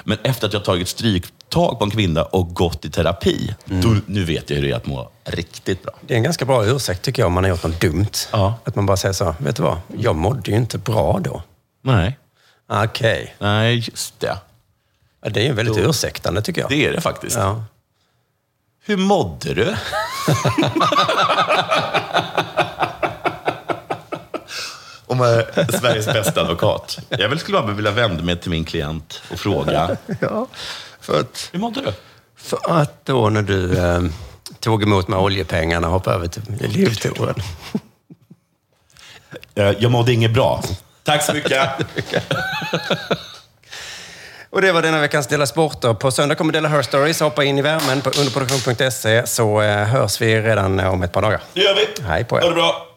men efter att jag tagit stryktag på en kvinna och gått i terapi,
Mm.
då, nu vet jag hur det är att må riktigt bra.
Det är en ganska bra ursäkt tycker jag om man har gjort något dumt. Att man bara säger så, vet du vad? Jag mådde ju inte bra då.
Nej.
Okej.
Nej, just det.
Ja, det är ju väldigt
Då-
ursäktande tycker jag.
Det är det faktiskt.
Ja.
Hur mådde du? Om jag är Sveriges bästa advokat. Jag väl skulle bara vilja vända mig till min klient och fråga.
Ja, för att,
Hur mådde du?
för att då när du eh, tog emot de här oljepengarna och hoppade över till livturen.
Eh, Jag mådde inget bra. Tack så mycket.
Och det var denna veckans Dela Sport. då. På söndag kommer Dela Her Stories. Hoppa in i E, värmen på underproduktion.se så eh, hörs vi redan eh, om ett par dagar.
Det gör vi.
Hej på er.
Ha det bra.